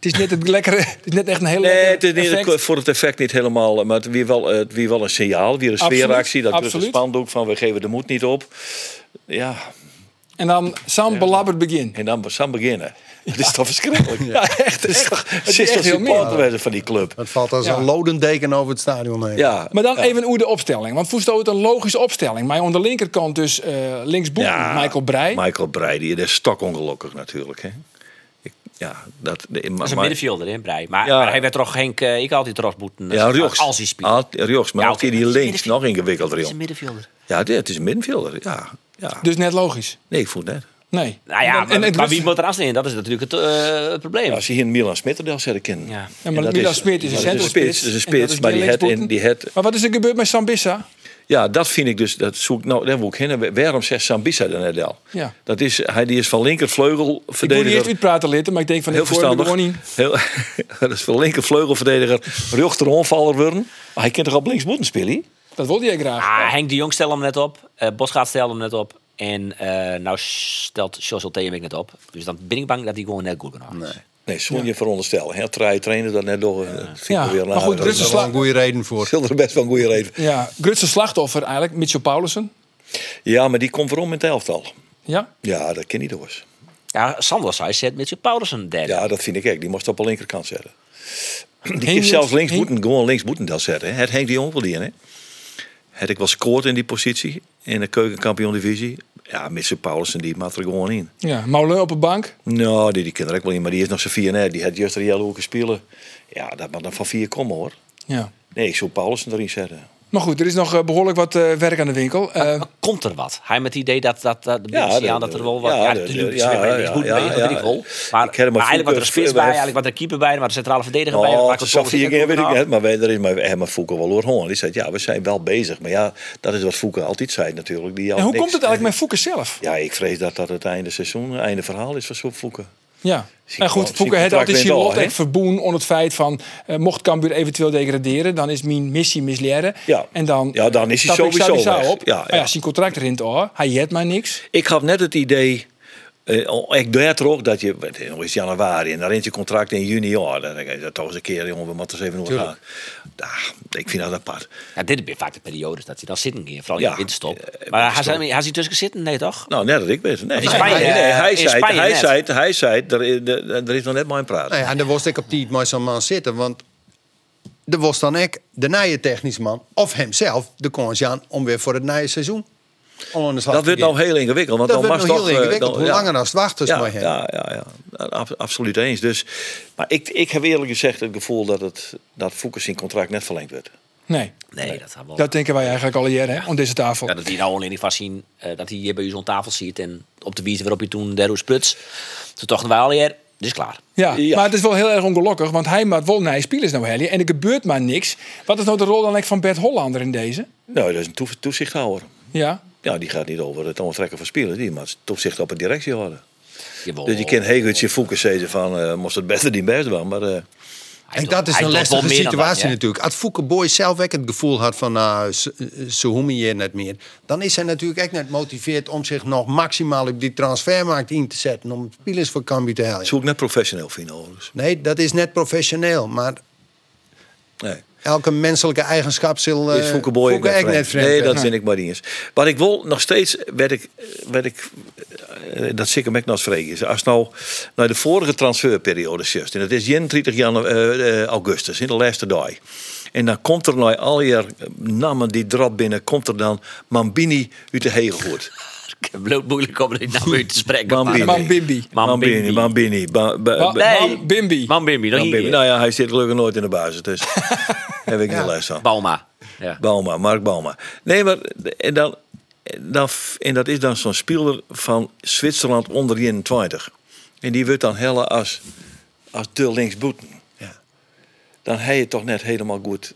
S3: Het is net het lekkere. Het is net echt een hele
S6: Nee,
S3: lekkere
S6: het is niet,
S3: Eh, effect.
S6: voor het effect niet helemaal. Maar het weer wel, eh, het weer wel een signaal, weer een
S3: Absoluut,
S6: sfeeractie. Dat is een
S3: absoluut.
S6: spandoek van we geven de moed niet op. Ja,
S3: En dan zo'n belabberd begin.
S6: en dan we gaan beginnen. Dat is
S3: (laughs)
S6: toch verschrikkelijk? Ja, echt. Het is toch
S3: echt heel meer.
S6: supporter van die club.
S7: Het valt als
S3: Ja.
S7: een lodendeken over het stadion heen.
S6: Ja.
S3: Maar dan even hoe de opstelling. Want Voesto het een logische opstelling. Maar aan de linkerkant dus eh linksboek
S6: Ja,
S3: Michael Breij.
S6: Michael Breij, die is stokongelukkig natuurlijk. Hè. Ik, ja, dat, de,
S8: Dat is een middenvelder in Brei. Maar,
S6: Ja.
S8: maar hij werd toch geen... eh, Ik had die trots moeten... eh,
S6: Ja, Rjochs.
S8: Als hij speelt.
S6: Ah, Rjochs, maar
S8: Ja,
S6: ook
S8: oké,
S6: die
S8: maar het is
S6: links,
S8: een
S6: nog ingewikkelder,
S8: Het is een
S6: joh.
S8: middenvelder.
S6: Ja, dit- het is een middenvelder, ja. ja.
S3: Dus net logisch.
S6: Nee, ik voel het net.
S3: Nee.
S8: Nou ja,
S3: En- en-
S8: maar,
S3: en-
S8: maar wie moet er aanstaan? Dat is natuurlijk het, eh, het probleem.
S6: Als je hier een Milan Smitterdel zet, kennen.
S8: Ja. Ja,
S3: Ja, maar Milan Smit is een centrumspits.
S6: spits. is een
S3: En dat
S6: spits, maar die
S3: meer
S6: het in,
S3: linksboeten.
S6: die het
S3: Maar wat is er gebeurd met Sambissa?
S6: Ja, dat vind ik dus, dat zoek nou, daar moet ik heen. Waarom zegt Sambisa dan net al?
S3: Ja.
S6: Dat is, hij die is van linkervleugel
S3: Ik moet niet eerst
S6: verdediger.
S3: uitpraten laten, maar ik denk van
S6: Heel
S3: dit wordt
S6: verstandig.
S3: gewoon niet.
S6: Heel, (laughs) dat is van linkervleugelverdediger. Rjochter worden. Maar hij kent toch op links moeten spelen? hè?
S3: Dat wilde jij graag.
S8: Ah, Henk de Jong stelde hem net op. Eh Bosgaard stelde hem net op. En eh nou stelt Sjosel Theemink net op. Dus dan ben ik bang dat hij gewoon net goed kan halen.
S6: Nee, zonder je veronderstellen. Heel traai trainer dat net door. Dat vind ik
S3: Ja,
S6: wel weer
S3: maar goed,
S6: aardig.
S3: Russen
S7: Daar is wel een goede reden voor.
S6: Zul er best wel een goede reden.
S3: Ja, Grutse slachtoffer eigenlijk, Mitchell Paulussen.
S6: Ja, maar die komt waarom in het elftal?
S3: Ja,
S6: Ja, dat ken niet door.
S8: Ja, Sander zei zet met zijn Paulussen derde.
S6: Ja, dat vind ik echt. Die moest op de linkerkant zetten. Die
S3: Jong-
S6: heeft zelfs links
S3: Henk-
S6: moeten, gewoon links moeten dat zetten. hè. Het Henk de Jong wel die in, hè? Had ik wel scoort in die positie in de keukenkampioen divisie. Ja, Mr. Paulussen die maakt er gewoon in.
S3: ja. Moulin op de bank.
S6: Nou, die, die kan er ook wel in, maar die is nog zijn vier net. Die had juist de hele hoeken spelen. Ja, dat mag dan van vier komen hoor.
S3: Ja.
S6: Nee, ik zou Paulussen erin zetten.
S3: Maar goed, er is nog eh, behoorlijk wat eh, werk aan de winkel.
S6: Ah,
S3: Eh,
S6: oh,
S8: Maar Komt er wat? Hij met het idee dat, dat, dat, de
S6: Ja,
S8: mensen
S6: de-
S8: aan dat er wel wat...
S6: ja,
S8: Ja,
S6: de-
S8: natuurlijk
S6: de- ja,
S8: is hij
S6: ja,
S8: goed
S6: ja,
S8: mee,
S6: ja.
S8: met die goal. Maar,
S6: Ik ken hem
S8: maar
S6: als
S8: eigenlijk wat er
S6: voetbal-
S8: een spits
S6: eh,
S8: bij, eigenlijk wat er een keeper bij, er wat een centrale verdediger bij. er
S6: Oh,
S8: maakt
S6: dat
S8: een
S6: zag vier
S8: goal,
S6: keer,
S8: zit
S6: weet ik
S8: er
S6: net. Maar wij erin, maar, hè, maar Foucault wel hoor. Die zei, ja, we zijn wel bezig. Maar ja, dat is wat Foucault altijd zei natuurlijk. Die had
S3: en hoe
S6: niks. Eh,
S3: komt het eigenlijk met Fouke zelf?
S6: Ja, ik vrees dat dat het einde seizoen, einde verhaal is voor Foucault.
S3: Ja. En goed,
S6: contract
S3: Fouke heeft altijd
S6: wint
S3: zijn
S6: al,
S3: lot
S6: hè?
S3: echt verboen onder het feit van... eh, mocht Cambuur eventueel degraderen, dan is mijn missie misleren.
S6: Ja.
S3: En dan,
S6: Ja, dan is hij
S3: stap ik
S6: sowieso
S3: Sabitza
S6: weg.
S3: op.
S6: Ja,
S3: Maar ja.
S6: ja.
S3: zijn contract rent al. Hij jet maar niks.
S6: Ik had net het idee, eh, al- ik daar toch, dat je, het is januari en dan rent je contract in juni. Ja, dan denk ik, dat toch eens een keer, jongen, we moeten eens even over gaan. Ja, ik vind dat apart.
S8: Ja, dit zijn vaak de periodes dat hij dan zit een keer. Vooral in
S6: Ja, eh,
S8: de winterstop. Maar hij zei- hij zit tussen zitten? Nee, toch?
S6: Nou, net dat ik weet. Nee,
S8: In Spanje,
S6: nee, nee, hij
S8: eh, in
S6: zei,
S8: Spanje
S6: hij
S8: net.
S6: zei, hij zei, er, er, er is nog net maar een praat.
S7: Nou ja, en daar was ik op die met zo'n man zitten. Want er was dan ik, de nieuwe technisch man, of hemzelf, de kans aan om weer voor het nieuwe seizoen al aan de slag
S6: Dat
S7: te
S6: wordt
S7: gaan.
S6: nou heel ingewikkeld. Want
S7: Dat
S6: dan
S7: wordt
S6: mag
S7: nou
S6: toch,
S7: heel
S6: eh,
S7: ingewikkeld.
S6: dan-
S7: Hoe
S6: ja.
S7: langer dan het wachten is
S6: ja,
S7: bij hem.
S6: Ja, ja, ja. Ab- absoluut eens. Dus, maar ik, ik heb eerlijk gezegd het gevoel dat, het, dat Foucault zijn contract net verlengd werd.
S3: Nee,
S8: Nee, dat gaat wel.
S3: dat denken wij eigenlijk al jaren hè, om deze tafel.
S8: Ja, dat hij nou alleen niet vast zien eh, dat hij hier bij u zo'n tafel ziet en op de wijze waarop je toen Derroes pruts. Toen dachten wij alweer, dit dus is klaar.
S3: Ja,
S6: Ja.
S3: maar het is wel heel erg ongelukkig, want hij maakt wel naar spelers nou helje en er gebeurt maar niks. Wat is nou de rol dan eigenlijk van Bert Hollander in deze?
S6: Nou, dat is een toe- toezichthouder.
S3: Ja,
S6: Ja, die gaat niet over het onttrekken van spelen. Die moet toezicht op een directie houden.
S8: Jawel.
S6: Dus je kent Hegeltje Foucault zeggen van... eh, moest het beter die best wel. Maar eh,
S8: Hij
S7: En
S8: doet-
S7: dat is
S8: hij
S7: een
S8: doet wel
S7: lastige
S8: meer dan
S7: situatie
S8: dat, hè?
S7: natuurlijk. Als Fouke Boy zelf ook het gevoel had van... nou, ze- ze hoeven hier net meer... dan is hij natuurlijk echt net motiveerd om zich nog maximaal op die transfermarkt in te zetten... om spelers voor Cambuur te helpen.
S6: dat is ook net professioneel vinden overigens.
S7: Nee, dat is net professioneel, maar
S6: Nee.
S7: elke menselijke eigenschap zal eh,
S6: is Fouke Boy ook
S7: Fouke
S6: net
S7: ook
S6: vreemd.
S7: net vreemd
S6: Nee,
S7: zijn.
S6: dat vind ik maar niet eens. Wat ik wil, nog steeds werd ik... Werd ik eh, dat zeker ik nog eens is. Als nou naar de vorige transferperiode zit... en dat is 31 janu- eh, eh, augustus, in de laatste dag... en dan komt er nou al je namen die drap binnen... komt er dan Mambini uit de Hegelhoed.
S8: Ik heb het moeilijk om dit nou weer te spreken.
S6: Mambini.
S8: maar-
S3: Mambimbi.
S6: Mambini, Mambini. Ba- ba-
S3: Wa-
S6: ba-
S8: Nee.
S3: Bimbi.
S8: Mambimbi, dan
S6: Dan ben je-
S8: hier.
S6: nou ja, hij zit gelukkig nooit in de basis, dus
S7: (laughs)
S6: heb ik geen les van.
S8: Bauma. Ja.
S6: Bauma, Mark Bauma. Nee, maar de- en, dan, dan, en dat is dan zo'n speler van Zwitserland onder 21. En die wordt dan helle als, als de linksboeten.
S7: Ja.
S6: Dan heb je toch net helemaal goed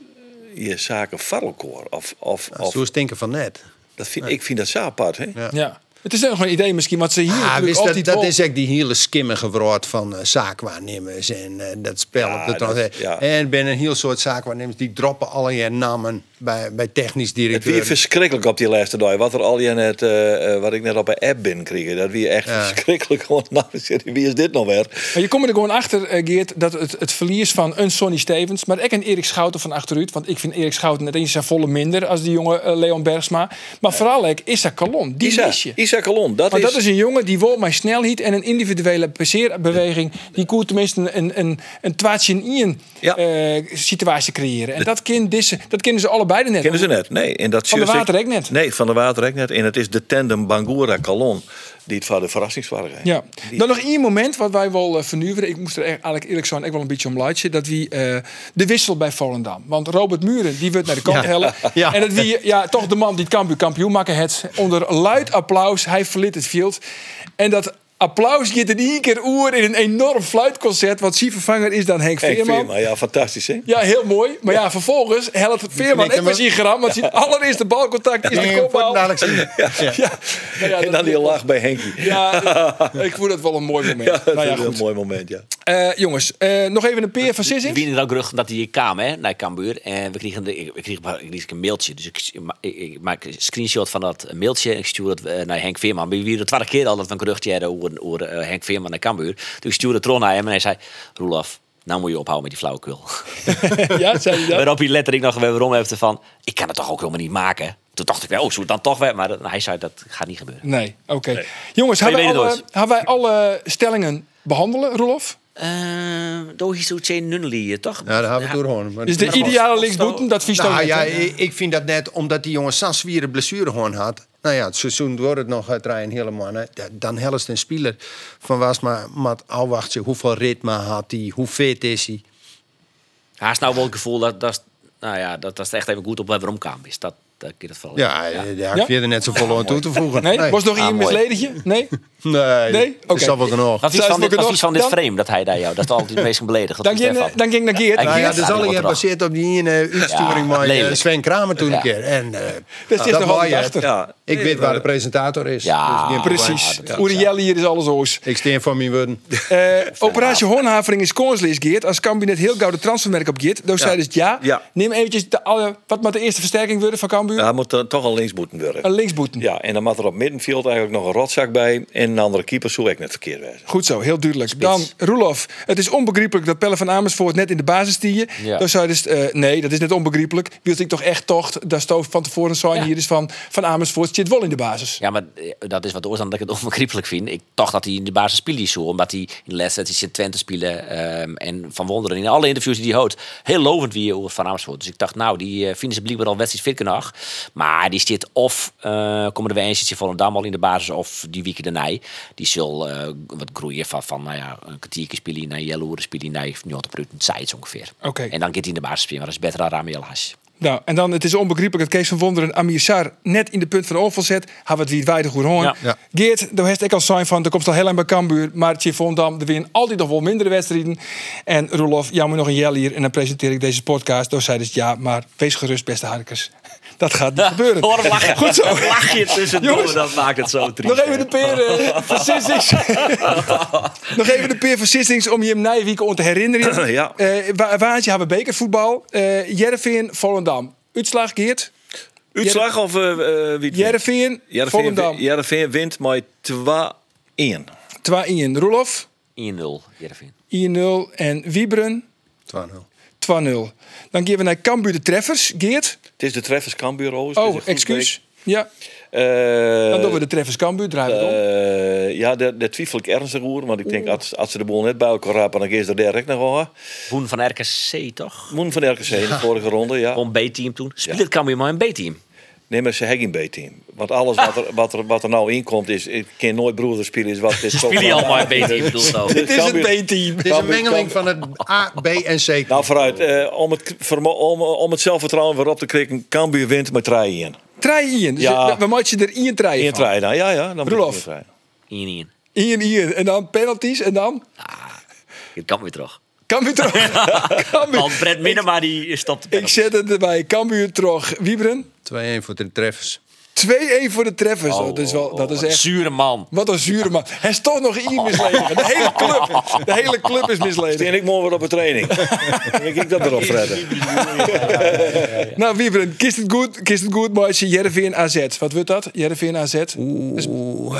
S6: je zaken varrelkoor. Of, of,
S7: Dat is
S6: of,
S7: zo stinken van net.
S6: dat vind, ik vind dat zo apart, hè?
S7: Ja.
S3: Ja. Het is nog een idee misschien wat ze hier
S7: Ah,
S3: natuurlijk
S7: wist dat,
S3: altijd
S7: dat
S3: wel-
S7: is echt die hele skimmige woord van eh, zaakwaarnemers en eh, dat spel
S6: Ja,
S7: op de trans-
S6: dat- ja.
S7: En ben een heel soort zaakwaarnemers die droppen al je namen bij, bij technisch
S6: Het weer
S7: directeur.
S6: verschrikkelijk op die laatste dag. Wat er al je net, eh, eh, wat ik net op een app binnenkreeg, dat weer echt
S7: Ja.
S6: verschrikkelijk. (laughs) Want nou, wie is dit nou weer?
S3: Maar je komt er gewoon achter, eh, Geert, dat het, het verlies van een Sonny Stevens, maar ook een Erik Schouten van achteruit. Want ik vind Erik Schouten net eens zijn volle minder als die jonge eh, Leon Bergsma. Maar vooral ook Issa Kalon, die mis
S6: Isa,
S3: je.
S6: Isa Jacquelon. Dat
S3: Maar
S6: is,
S3: dat is een jongen die wil maar snelheid en een individuele passeerbeweging. Die koert tenminste een, een, een, een twaatje in ien
S6: Ja.
S3: eh, situatie creëren. En dat, kind disse, dat kennen ze allebei er net.
S6: Kennen ze net? Nee. En dat
S3: Van de
S6: zeurt ik-
S3: Water ook net.
S6: Nee, van de water ook net. En het is de tandem Bangura-Calon die het voor de verrassingswaardigheid.
S3: Ja.
S6: Die-
S3: Dan nog één moment wat wij wel eh, vernuveren. Ik moest er echt, eigenlijk eerlijk zijn, ik wel een beetje om laatje. Dat wie eh, de wissel bij Volendam. Want Robert Muren die werd naar de kant
S6: (laughs)
S3: hellen.
S7: Ja.
S3: En dat wie ja, toch de man die het kampioen kampioen maken het. Onder luid applaus. Hij verliet het veld. En dat applaus gaat in één keer oer in een enorm fluitconcert. Wat zie vervanger is dan Henk
S6: Henk
S3: Veerman.
S6: Veerman, ja, fantastisch hè?
S3: Ja, heel mooi. Maar ja, vervolgens helpt Veerman
S7: knikken
S3: ik was
S7: we.
S3: hier gram. Want zijn allereerste balcontact is
S7: Nee,
S3: de
S7: we moeten
S3: kopbal.
S7: het dadelijk zien.
S3: Ja, nou ja,
S6: en dan
S3: dat-
S6: die lach bij Henkie. (laughs)
S3: Ja, ik vond dat wel een mooi moment.
S6: Ja, dat
S3: nou ja,
S6: is een heel
S3: goed.
S6: mooi moment, ja.
S3: Eh, jongens, eh, nog even een peer van
S8: We
S3: Sissing.
S8: winnen ook rug dat hij kwam hè, naar Cambuur. En we kregen, de, ik, ik kreeg, ik kreeg een mailtje. Dus ik, ik, ik maak een screenshot van dat mailtje. En ik stuur het eh, naar Henk Veerman. We wierden de twaalf keer al dat we een geruchtje hadden over, over eh, Henk Veerman naar Cambuur. Dus ik stuurde het terug naar hem en hij zei... Roelof, nou moet je ophouden met die flauwekul.
S3: (laughs) Ja, zei je dat?
S8: (laughs) Waarop hij letterlijk nog weer waarom heeft van... Ik kan het toch ook helemaal niet maken? Toen dacht ik wel, oh, zo dan toch weer. Maar dat- hij zei, dat gaat niet gebeuren.
S3: Nee, oké. Jongens,
S8: Maar je
S3: hebben wij,
S8: weet het
S3: alle- hebben wij alle stellingen behandelen, Rolof?
S8: Uh, Dohi Nunnely, eh, toch?
S7: Nou, daar hebben we het door gewoon.
S3: Is de ideale linksboeten, dat vies
S7: Nou
S3: dan
S7: ja,
S3: net, hè?
S7: ik, ik vind dat net omdat die jongen sans vier blessure gewoon had. Nou ja, het seizoen wordt het nog het Rijn helemaal. Hè. Da- Dan helst een speler van was maar mat afwachten. Hoeveel ritme had hij? Hoe fit is hij?
S8: Hij is nou wel het gevoel dat, dat, is- nou ja, dat, dat is echt even goed op waarom kwam. Is dat, dat kan het vallen.
S7: Ja, ja. daar heb je er net zo vol aan toe te voegen.
S3: Nee? Was nog
S8: Ah,
S3: hier een
S8: mooi.
S3: misledetje? Nee?
S7: Nee,
S3: Nee?
S7: dat
S3: Oké.
S7: is al wel genoeg.
S8: Dat is
S3: Zou
S8: van
S3: je
S8: dit,
S3: het
S8: dat
S3: nog-
S8: is van dit
S3: dan-
S8: frame dat hij daar jou. Dat is altijd het (laughs) meest beledigd. Wat
S3: Dan
S8: vind
S3: ging,
S8: je
S3: eh,
S8: daarvan?
S3: dan ging ik naar Geert.
S8: Ja,
S7: Nou ja,
S8: Geert
S7: dat is
S8: staat
S7: al
S8: hier
S7: je
S8: op de dag.
S7: gebaseerd op die ene
S8: Ja,
S7: uitsturing met eh,
S8: lelijk.
S7: Sven Kramer toen
S8: Ja.
S7: een keer. En, eh,
S3: Dat is
S7: dat
S3: er wel
S7: wou je.
S3: achter.
S6: Ja,
S7: ik weet waar de presentator is.
S8: Ja,
S7: dus geen probleem.
S3: Precies.
S8: Ja, dat is-
S3: Uriel hier is alles oors.
S7: Ik steen voor mijn (laughs) woorden.
S3: Eh, operatie Honhavering is kanslees, Geert. Als Cambuur net heel gauw de transfermerk op Geert, dan zei dus ja.
S6: Ja.
S3: Neem eventjes de, alle, wat moet de eerste versterking worden van Cambuur?
S6: Ja, hij moet dan toch al links moeten worden.
S3: Een linksboeten.
S6: Ja, en dan moet er op middenveld eigenlijk nog een rotzak bij. En een andere keeper zou ik net verkeerd wijzen.
S3: Goed zo, heel duidelijk. Dan, Roelof, het is onbegrijpelijk dat Pelle van Amersfoort net in de basis stieën.
S8: Ja.
S3: Dan zei dus, eh, nee, dat is net onbegrijpelijk. Wilde ik toch echt tocht, daar stoof van tevoren zijn hier dus van, van Amersfoort zit wel in de basis.
S8: Ja, maar eh, dat is wat de oorzaak dat ik het (laughs) onbegrijpelijk vind. Ik dacht dat hij in de basis speelde zo. Omdat hij in de laatste tijd zit Twente spelen. ehm, en Van Wonderen in alle interviews die hij houdt. Heel lovend wie over Van Amersfoort. Dus ik dacht, nou, die eh, vinden ze blijkbaar al wedstrijd fit genoeg. Maar die zit of eh komen er weer eens zit Volendam al in de basis. Of die weekend daarna. Die zal eh, wat groeien van, van nou ja, een kwartiertje spelen naar Jelloeren spelen naar 90% zijds ongeveer.
S3: Oké.
S8: En dan gaat hij in de basis spelen. Maar dat is beter dan Ramiel Haas.
S3: Nou, en dan, het is onbegrijpelijk dat Kees van Wonderen Amir Sar net in de punt van de oorval zet. Had het wie het weinig goed hoorn.
S8: Ja.
S7: Ja.
S3: Geert, daar heeft ik al zijn van, er komt al heel lang bij Cambuur. Maar Tje Vondam, er winnen altijd nog wel mindere wedstrijden. En Roelof, jammer nog een jel hier. En dan presenteer ik deze podcast. Door zei dus ja, maar wees gerust beste harkers. (laughs) Dat gaat
S8: (laughs)
S3: niet gebeuren.
S8: Hoor hem (laughs) lachen.
S3: Goed zo.
S8: Een lachje tussendoor,
S3: Jongens.
S8: dat maakt het zo triest.
S3: Nog even de peer
S6: (laughs)
S3: eh, van Sissings. (laughs) Nog even de peer van Sissings om je hem Nijwieken om te herinneren.
S6: (clears throat) Ja.
S3: Eh, wa- Waantje hebben bekervoetbal. Eh Jervin, Volendam. Uitslag Geert.
S6: Uitslag of eh eh, wie? het wint?
S3: Jervin,
S6: Heerenveen-
S3: Volendam.
S6: Heerenveen wint met 2-1.
S3: Twa in Roelof.
S8: 1-0, Jervin.
S3: 1-0 en Wiebren
S7: 12-0.
S3: 2-0. Dan geven we naar Cambuur de treffers. Geert.
S6: Het is de Treffers Cambuur overigens.
S3: Oh,
S6: Het is een goed
S3: excuus. Ja,
S6: week. Eh,
S3: dan doen we de treffers Cambuur. Draaien we het om.
S6: eh, ja, daar daar twijfel ik ernstig over. Want ik denk, als, als ze de boel net bij elkaar rapen, dan is er direct nog wel.
S8: Boen van RKC, toch?
S6: Moen van RKC in de vorige ronde, ja.
S8: Gewoon B-team toen. Speel het kan weer maar een B-team.
S6: Nee, maar ze hebben een B-team. Want alles wat er, wat er, wat er nou inkomt is... Ik ken nooit broeder spelen, is
S3: (laughs)
S6: wat... Is toch
S8: Speel je
S6: wel- Dus
S8: al maar een B-team, bedoel zo.
S3: Dit is
S6: Cambuur-
S3: het B-team.
S7: Het is een
S6: Cambuur-
S7: mengeling van het A, B en C.
S6: Nou, vooruit. eh, om, het, vermo- om, om het zelfvertrouwen weer op te krikken, Cambuur wint met 3-1. 1
S3: Traaien in. Dus
S6: Ja.
S3: we moeten er in traaien van.
S6: dan, ja, ja. Dan
S3: Roelof.
S6: moet je het
S8: 1-1.
S3: Ian, Ian. En dan penalties. En dan...
S8: Het kan weer terug.
S3: Cambuur terug.
S6: (laughs)
S3: Cambuur.
S8: Want Brett Minema die stopt de
S3: Ik
S8: penalty.
S3: zet het erbij. Cambuur terug. Wiebren.
S7: 2-1 voor de treffers.
S3: 2-1 voor de treffers.
S8: Oh,
S3: dat is wel... Dat is
S8: oh,
S3: echt...
S8: Zure man.
S3: Wat een zure man. Hij is toch nog Ian misleden. De hele club. De hele club is misleden.
S6: En ik morgen weer op de training. Dan denk ik dat erop redden.
S3: Nou, Wiebren, kist het goed, kist het goed, maatje. Jervin AZ. Wat wordt dat? Jervin AZ. Dus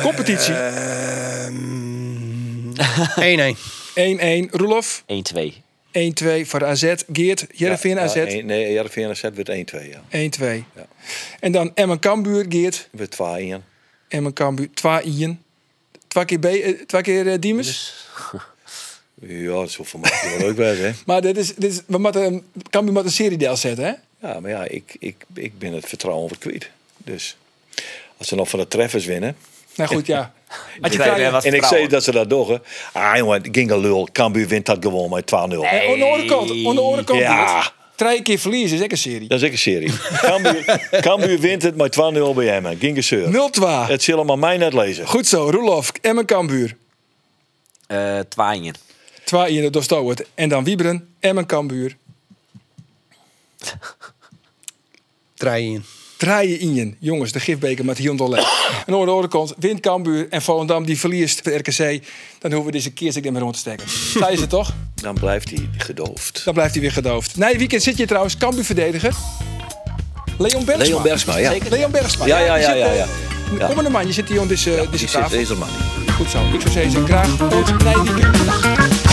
S3: competitie.
S7: eh.
S3: 1-1.
S7: Ehm, Eén 1-1.
S3: Roelof,
S8: 1-2.
S3: 1-2 voor AZ. Geert, Jervin
S6: Ja,
S3: AZ,
S6: één- Nee, Jarvin AZ werd 1-2, ja.
S3: 1-2. En dan Emmen Kambuur, Geert,
S6: Werd 2-1.
S3: en mijn Cambuur. Twee Ien. Twee keer, B, eh, twee keer eh, Diemers.
S6: Ja, dat is wel voor mij heel leuk bij, hè.
S3: Maar dit is, dit is, we moeten, Cambuur moet een seriedeel zetten, hè?
S6: Ja, maar ja, ik, ik, ik ben het vertrouwen wat kwijt. Dus als ze nog van de treffers winnen.
S3: Nou goed, ja. Had je
S8: krijgt
S3: kleine-
S8: weer wat-
S6: en ik zei
S8: vertrouwen.
S6: dat ze dat doggen. Ah jongen, Ginga lul. Cambuur wint dat gewoon met 2-0.
S3: Eh, aan de andere kant, aan de andere kant.
S6: Ja.
S3: Ruud. Drie keer verliezen is echt een serie. 0-2.
S6: Dat is ik een serie. Cambuur, Cambuur wint het met 2-0 bij hem. hè. Ginga zeur. Het zullen maar mij net lezen.
S3: Goed zo, Roelof, Emmen Kambuur.
S8: Eh Twaaien.
S3: Twee in de Dostouwert. En dan Wieberen, Emmen Kambuur.
S7: Trein in.
S3: Draaien in je. Jongens, de gifbeker met Hyundai leeg. En aan de andere kant, wint Kambuur en Volendam die verliest de RKC. Dan hoeven we deze keer niet meer rond te
S6: (laughs)
S3: steken. Zij is het toch?
S6: Dan blijft hij gedoofd.
S3: Dan blijft hij weer gedoofd. Na je weekend zit je trouwens Kambuur-verdediger. Leon Bergsma.
S6: Leon Bergsma, ja.
S3: Leon Bergsma.
S6: Ja, ja,
S3: die
S6: ja,
S3: zit,
S6: ja,
S3: eh,
S6: ja. Ja.
S3: Kom maar naar man, je zit hier om deze, deze
S6: Die zit eh,
S3: tafel.
S6: deze man.
S3: Goed zo. Ik zou zeggen, graag tot na je weekend.